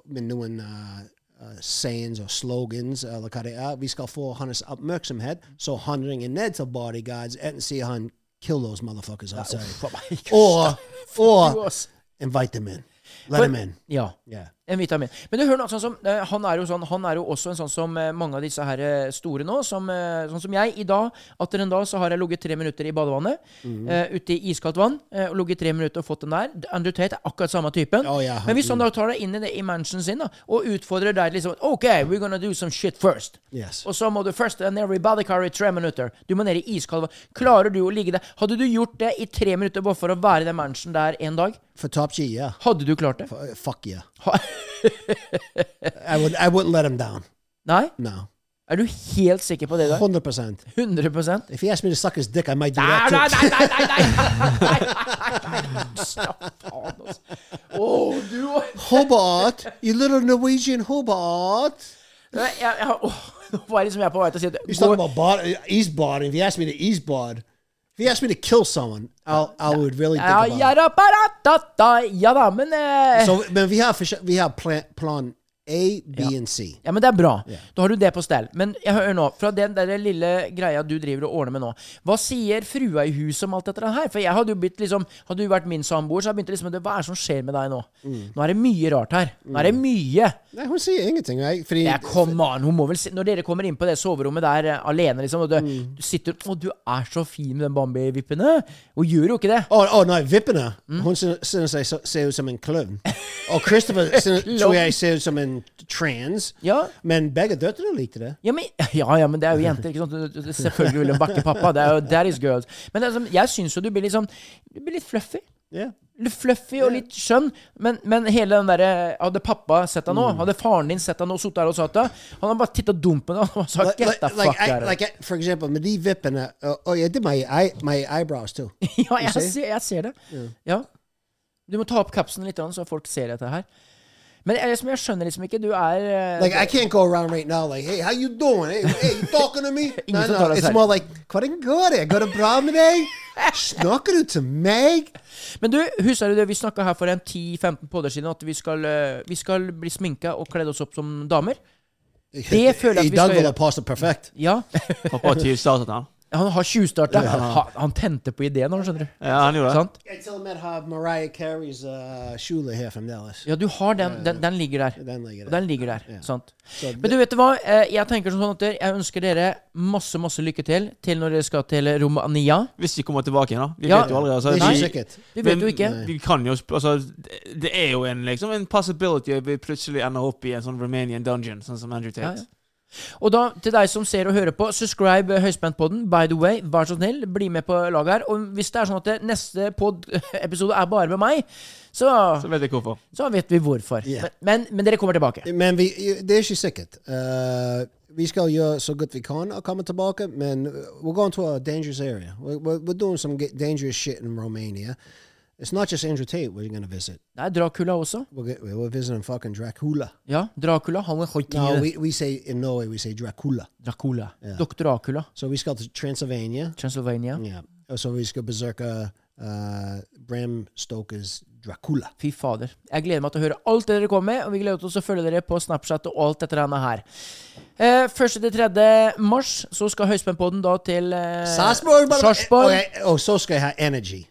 [SPEAKER 1] med noen eh, eh, sayings og slogans eller hva det er. Vi skal få hans oppmerksomhet, så han ringer ned til bodyguards enten sier han 'kill those motherfuckers outside',
[SPEAKER 2] Uff, meg.
[SPEAKER 1] or,
[SPEAKER 2] Du,
[SPEAKER 1] or
[SPEAKER 2] ass.
[SPEAKER 1] invite them in. Let
[SPEAKER 2] For-
[SPEAKER 1] them in.
[SPEAKER 2] Ja.
[SPEAKER 1] Yeah.
[SPEAKER 2] En vitamin. Men du hører noe, sånn som, eh, han, er jo sånn, han er jo også en sånn som eh, mange av disse her eh, store nå. Som, eh, sånn som jeg. I dag atter en dag så har jeg ligget tre minutter i badevannet.
[SPEAKER 1] Mhm.
[SPEAKER 2] eh, ute i iskaldt vann. eh, og ligget tre minutter og fått den der. Andrew Tate er akkurat samme typen.
[SPEAKER 1] Å, ja, han-
[SPEAKER 2] Men hvis han da tar deg inn i, det, i mansionen sin da, og utfordrer deg liksom OK, we're gonna do some shit first.
[SPEAKER 1] Yes.
[SPEAKER 2] Og så må du først eh, ned i bodycar i tre minutter. Du må ned i iskald vann. Klarer du å ligge der? Hadde du gjort det i tre minutter bare for å være i den mansionen der en dag?
[SPEAKER 1] For Top G, yeah.
[SPEAKER 2] Hadde du klart det?
[SPEAKER 1] F- uh, fuck yeah.
[SPEAKER 2] Ha-
[SPEAKER 1] I would I wouldn't let him down.
[SPEAKER 2] Nei?
[SPEAKER 1] No.
[SPEAKER 2] Er du helt sikker på det? der?
[SPEAKER 1] 100%.
[SPEAKER 2] 100
[SPEAKER 1] If he asked me to suck his dick, I might do
[SPEAKER 2] Nei, nei,
[SPEAKER 1] that too.
[SPEAKER 2] nei, nei, nei, nei, nei, nei, nei, nei, Slapp av, altså. Å, du
[SPEAKER 1] Hobart, you little Norwegian Hobart.
[SPEAKER 2] Nei, jeg, jeg, åh, Nå var liksom jeg på vei til å si at
[SPEAKER 1] He's
[SPEAKER 2] gå-
[SPEAKER 1] talking about bod, East Bod. If he asked me to East Bod, if he asked me to kill someone, I'll, I would really think
[SPEAKER 2] ja,
[SPEAKER 1] about
[SPEAKER 2] ja,
[SPEAKER 1] it.
[SPEAKER 2] da, ba, da, da, da, ja da, men eh,
[SPEAKER 1] So, man, we have we have plan, plan A, B, and C.
[SPEAKER 2] Ja, men det er bra. Da har du det på stell. Men jeg hører nå, fra den der lille greia du driver og ordner med nå, hva sier frua i huset om alt dette her? For jeg hadde jo blitt liksom, hadde du vært min samboer, så hadde jeg begynt å liksom, hva er det som skjer med deg nå? Nå er det mye rart her. Nå er det mye.
[SPEAKER 1] Nei, hun sier ingenting, right? Fordi,
[SPEAKER 2] Ja, come on, hun må vel si, Når dere kommer inn på det soverommet der eh, alene, liksom, og du,
[SPEAKER 1] Mm.
[SPEAKER 2] du sitter Å, du er så fin med den Bambi-vippene. Hun gjør jo ikke det.
[SPEAKER 1] Å, å nei, vippene. Hun sy- synes jeg så- ser ut som en klovn. Og Christopher synes, tror jeg ser ut som en trans.
[SPEAKER 2] Ja.
[SPEAKER 1] Men begge døtrene likte det.
[SPEAKER 2] Ja men, ja, ja, men det er jo jenter. ikke sant? Du- du- du- Selvfølgelig vil hun bakke pappa. Det er jo that is girls. Men det er som, jeg syns jo du blir litt sånn Du blir litt fluffy.
[SPEAKER 1] Ja.
[SPEAKER 2] Litt fluffy og litt skjønn, men, men hele den derre Hadde pappa sett deg nå?
[SPEAKER 1] Mm.
[SPEAKER 2] Hadde faren din sett deg nå? Sittet der og sagt det? Han hadde bare titta dumt på deg og sagt
[SPEAKER 1] Like,
[SPEAKER 2] 'get
[SPEAKER 1] like,
[SPEAKER 2] the fuck
[SPEAKER 1] like, I,
[SPEAKER 2] out of
[SPEAKER 1] like I, for example, med de vippene oh, oh, Jeg did my, eye, my eyebrows too.
[SPEAKER 2] here'. Ja, jeg
[SPEAKER 1] ser?
[SPEAKER 2] ser, jeg ser det. Ja. Du må ta opp kapsen litt, grann, så folk ser dette her. Men jeg, liksom, jeg skjønner liksom ikke Du er eh,
[SPEAKER 1] Like I can't go around right now like, hey, how you doing? Hey, hey you talking to me?
[SPEAKER 2] Ingen som tar deg
[SPEAKER 1] It's
[SPEAKER 2] seriøst.
[SPEAKER 1] more like, eh? hvordan går det? Går det bra med deg? Snakker du til meg?
[SPEAKER 2] Men du, husker du det vi snakka her for en 10-15 podder siden, at vi skal, eh, vi skal bli sminka og kledd oss opp som damer? Det føler
[SPEAKER 1] I
[SPEAKER 2] jeg at vi skal
[SPEAKER 1] dag var
[SPEAKER 2] gjøre.
[SPEAKER 1] det passe perfekt.
[SPEAKER 2] Ja.
[SPEAKER 3] Pappa har tyvstartet han.
[SPEAKER 2] Han har tjuvstarta. Han, han tente på ideen, han, skjønner du.
[SPEAKER 3] Ja, han gjorde det.
[SPEAKER 2] Sant?
[SPEAKER 1] Jeg til og med har Mariah Careys uh, kjole her fremdeles.
[SPEAKER 2] Ja, du har den. Den, den ligger der.
[SPEAKER 1] Den ligger
[SPEAKER 2] Og
[SPEAKER 1] der.
[SPEAKER 2] Den ligger der, sant.
[SPEAKER 1] Så
[SPEAKER 2] Men du vet du hva, Eh, jeg tenker som sånn at jeg ønsker dere masse, masse lykke til til når dere skal til Romania.
[SPEAKER 3] Hvis de kommer tilbake igjen, da. Vi
[SPEAKER 2] Ja.
[SPEAKER 3] vet jo aldri. Altså,
[SPEAKER 1] Det er
[SPEAKER 3] de-
[SPEAKER 1] ikke sikkert.
[SPEAKER 2] Vi vet jo ikke.
[SPEAKER 3] Men Vi kan jo sp- altså, det- Det er jo en, liksom, en possibility at vi plutselig ender opp i en sånn Romanian dungeon, sånn som Andrew
[SPEAKER 2] Ja,
[SPEAKER 3] Tate.
[SPEAKER 2] ja. Og da, til deg som ser og hører på, subscribe eh, Høyspentpodden. By the way, vær så snill, bli med på laget her. Og hvis det er sånn at det, neste pod-episode er bare med meg, så,
[SPEAKER 3] Så vet jeg hvorfor.
[SPEAKER 2] så vet vi hvorfor.
[SPEAKER 1] Ja.
[SPEAKER 2] Men, men, men dere kommer tilbake.
[SPEAKER 1] Men vi, det er ikke sikkert. Uh, vi skal gjøre så godt vi kan og komme tilbake, men uh, we're going to a dangerous area. We're, we're, we're doing some ga- dangerous shit in Romania. It's not just Andrew Tate we're going to visit.
[SPEAKER 2] Det er Dracula også.
[SPEAKER 1] We're, get- we're visiting fucking Dracula.
[SPEAKER 2] Ja, Dracula. Han er høyt
[SPEAKER 1] No, we, we say in Norway we say Dracula.
[SPEAKER 2] Dracula. Dr. Dracula.
[SPEAKER 1] So we skal to Transylvania.
[SPEAKER 2] Transylvania.
[SPEAKER 1] Yeah. So vi skal berserke uh, Bram Stokers Dracula.
[SPEAKER 2] Fy fader. Jeg gleder meg til å høre alt det dere kommer med, og vi gleder oss til å følge dere på Snapchat og alt dette denne her. Eh, 1. til 3. mars så skal Høyspentpodden da til eh,
[SPEAKER 1] Sarpsborg! bare-
[SPEAKER 2] Sarpsborg.
[SPEAKER 1] Ok, Og så Oh, skal jeg ha energy.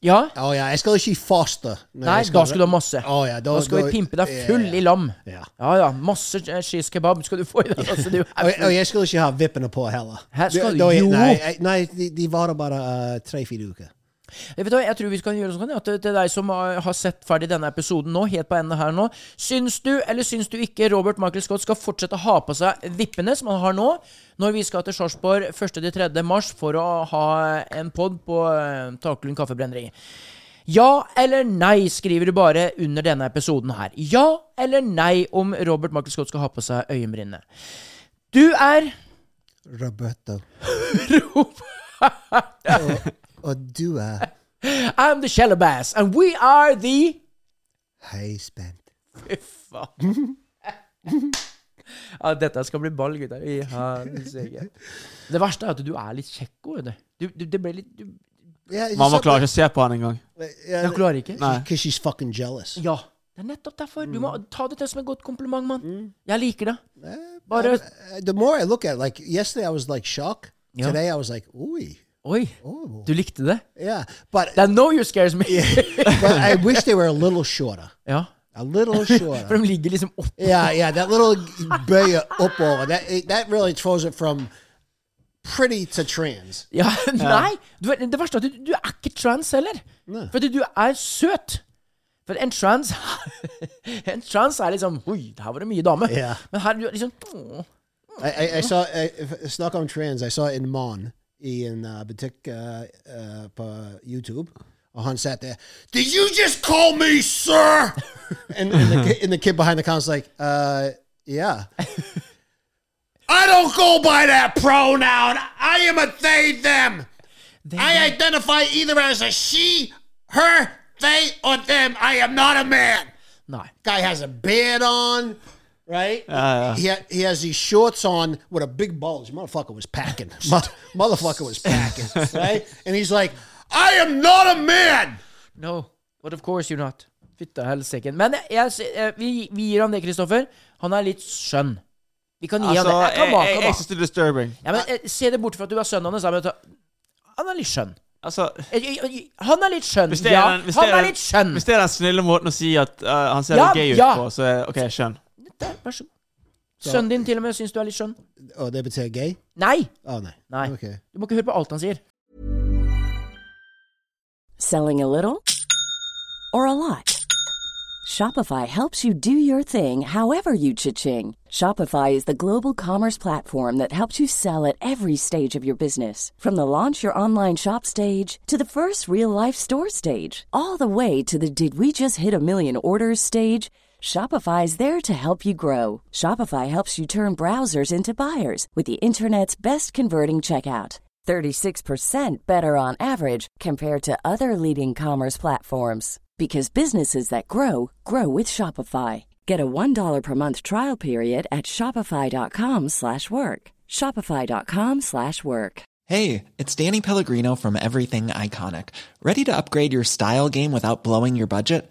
[SPEAKER 2] Ja.
[SPEAKER 1] Å ja, jeg skal ikke faste. når
[SPEAKER 2] Nei,
[SPEAKER 1] jeg
[SPEAKER 2] da skal du ha masse.
[SPEAKER 1] Å ja,
[SPEAKER 2] Da skal vi pimpe deg full i lam.
[SPEAKER 1] Ja.
[SPEAKER 2] Ja ja, masse eh, cheese kebab skal du få i deg. Altså, du
[SPEAKER 1] Og,
[SPEAKER 2] er
[SPEAKER 1] og Oh, jeg skal ikke ha vippene på heller.
[SPEAKER 2] Her skal
[SPEAKER 1] Da- da-
[SPEAKER 2] du- jo.
[SPEAKER 1] Nei, jeg- nei de, de varer bare eh, tre-fire uker.
[SPEAKER 2] Jeg Eh, vet hva, jeg tror vi skal gjøre sånn at til deg som har har sett ferdig denne episoden nå, helt på enden her nå, syns du eller syns du ikke Robert Michael Scott skal fortsette å ha på seg vippene som han har nå, når vi skal til Sarpsborg 1.-3. mars for å ha en pod på eh, Taklund kaffebrenneri? Ja eller nei skriver du bare under denne episoden her. Ja eller nei om Robert Michael Scott skal ha på seg øyenbrynene. Du er
[SPEAKER 1] Roberto.
[SPEAKER 2] Robert
[SPEAKER 1] Og du er
[SPEAKER 2] I'm the Shellabass, and we are the
[SPEAKER 1] høyspent.
[SPEAKER 2] Fy faen. ja, dette skal bli ball, gutter. I helsike. Det verste er at du er litt kjekko. vet Du, du, du, det ble litt du,
[SPEAKER 1] Yeah,
[SPEAKER 3] Mamma klarer ikke å se på han engang.
[SPEAKER 2] Jeg klarer ikke.
[SPEAKER 3] Nei.
[SPEAKER 1] er Because she's fucking jealous.
[SPEAKER 2] Ja. Det er nettopp derfor. Du må ta det til som et godt kompliment, mann. Jeg liker det. Bare
[SPEAKER 1] Uh, The more I look at it, like yesterday I was like shocked.
[SPEAKER 2] Ja.
[SPEAKER 1] Today I was like, oi.
[SPEAKER 2] Oi,
[SPEAKER 1] Oh.
[SPEAKER 2] du likte det?
[SPEAKER 1] Yeah. But,
[SPEAKER 2] That no you scares me.
[SPEAKER 1] but I wish they were a little shorter.
[SPEAKER 2] ja.
[SPEAKER 1] A little shorter.
[SPEAKER 2] For de ligger liksom oppå.
[SPEAKER 1] Yeah, yeah, that little bøye oppover. That it- that really throws it from pretty to trans.
[SPEAKER 2] Ja, nei! Du, er- det verste er at du, du er ikke trans heller. For at du er søt. For en trans En trans er liksom Oi, her var det mye dame.
[SPEAKER 1] Ja.
[SPEAKER 2] Men her er du liksom åh.
[SPEAKER 1] I, I, I saw I, if- snuck on trans. I saw it in Mon in uh, Batik uh, uh, på YouTube. Han sat there. Did you just call me sir? and, and, the, ki- and the kid behind the counter's like, uh, yeah. I don't go by that pronoun. I am a they them. I identify either as a she, her, they, or them. I am not a man.
[SPEAKER 2] Nei.
[SPEAKER 1] Guy has a beard on, right?
[SPEAKER 3] Ja, ja.
[SPEAKER 1] He, ha- he has these shorts on with a big bulge. Motherfucker was packing. Mo- motherfucker was packing, right? And he's like, I am not a man.
[SPEAKER 2] No, but of course you're not. Fytte helsike. Men jeg, jeg, eh, vi, vi gir ham det, Kristoffer. Han er litt skjønn. Vi kan gi
[SPEAKER 3] Altså,
[SPEAKER 2] ham det. Jeg
[SPEAKER 3] jeg,
[SPEAKER 2] kan bake
[SPEAKER 3] jeg,
[SPEAKER 2] ham,
[SPEAKER 3] jeg
[SPEAKER 2] da.
[SPEAKER 3] synes det er disturbing.
[SPEAKER 2] Ja, men eh, Se det bort fra at du er sønnen hans. da, men vet du, Han er litt skjønn.
[SPEAKER 3] Altså,
[SPEAKER 2] Jeg- jeg- jeg- Han er litt skjønn.
[SPEAKER 3] hvis det
[SPEAKER 2] Ja,
[SPEAKER 3] er den, hvis det
[SPEAKER 2] han er
[SPEAKER 3] er,
[SPEAKER 2] litt skjønn.
[SPEAKER 3] hvis det er den snille måten å si at eh, han ser
[SPEAKER 2] Ja,
[SPEAKER 3] gay ut
[SPEAKER 2] ja.
[SPEAKER 3] på, så er OK, jeg skjønner.
[SPEAKER 2] Der, vær så god. Sønnen din til og med syns du er litt skjønn.
[SPEAKER 1] Oh, they would say gay?
[SPEAKER 2] Nei!
[SPEAKER 1] Oh, no.
[SPEAKER 2] Nei.
[SPEAKER 1] Okay.
[SPEAKER 2] Du må ikke høre på alt han sier.
[SPEAKER 5] Selling a little or a lot? Shopify helps you do your thing however you cha-ching. Shopify is the global commerce platform that helps you sell at every stage of your business. From the launch your online shop stage to the first real life store stage, all the way to the did we just hit a million orders stage. Shopify is there to help you grow. Shopify helps you turn browsers into buyers with the internet's best converting checkout. 36% better on average compared to other leading commerce platforms because businesses that grow grow with Shopify. Get a $1 per month trial period at shopify.com/work. slash work. shopify.com/work. slash work.
[SPEAKER 6] Hey, it's Danny Pellegrino from Everything Iconic. Ready to upgrade your style game without blowing your budget?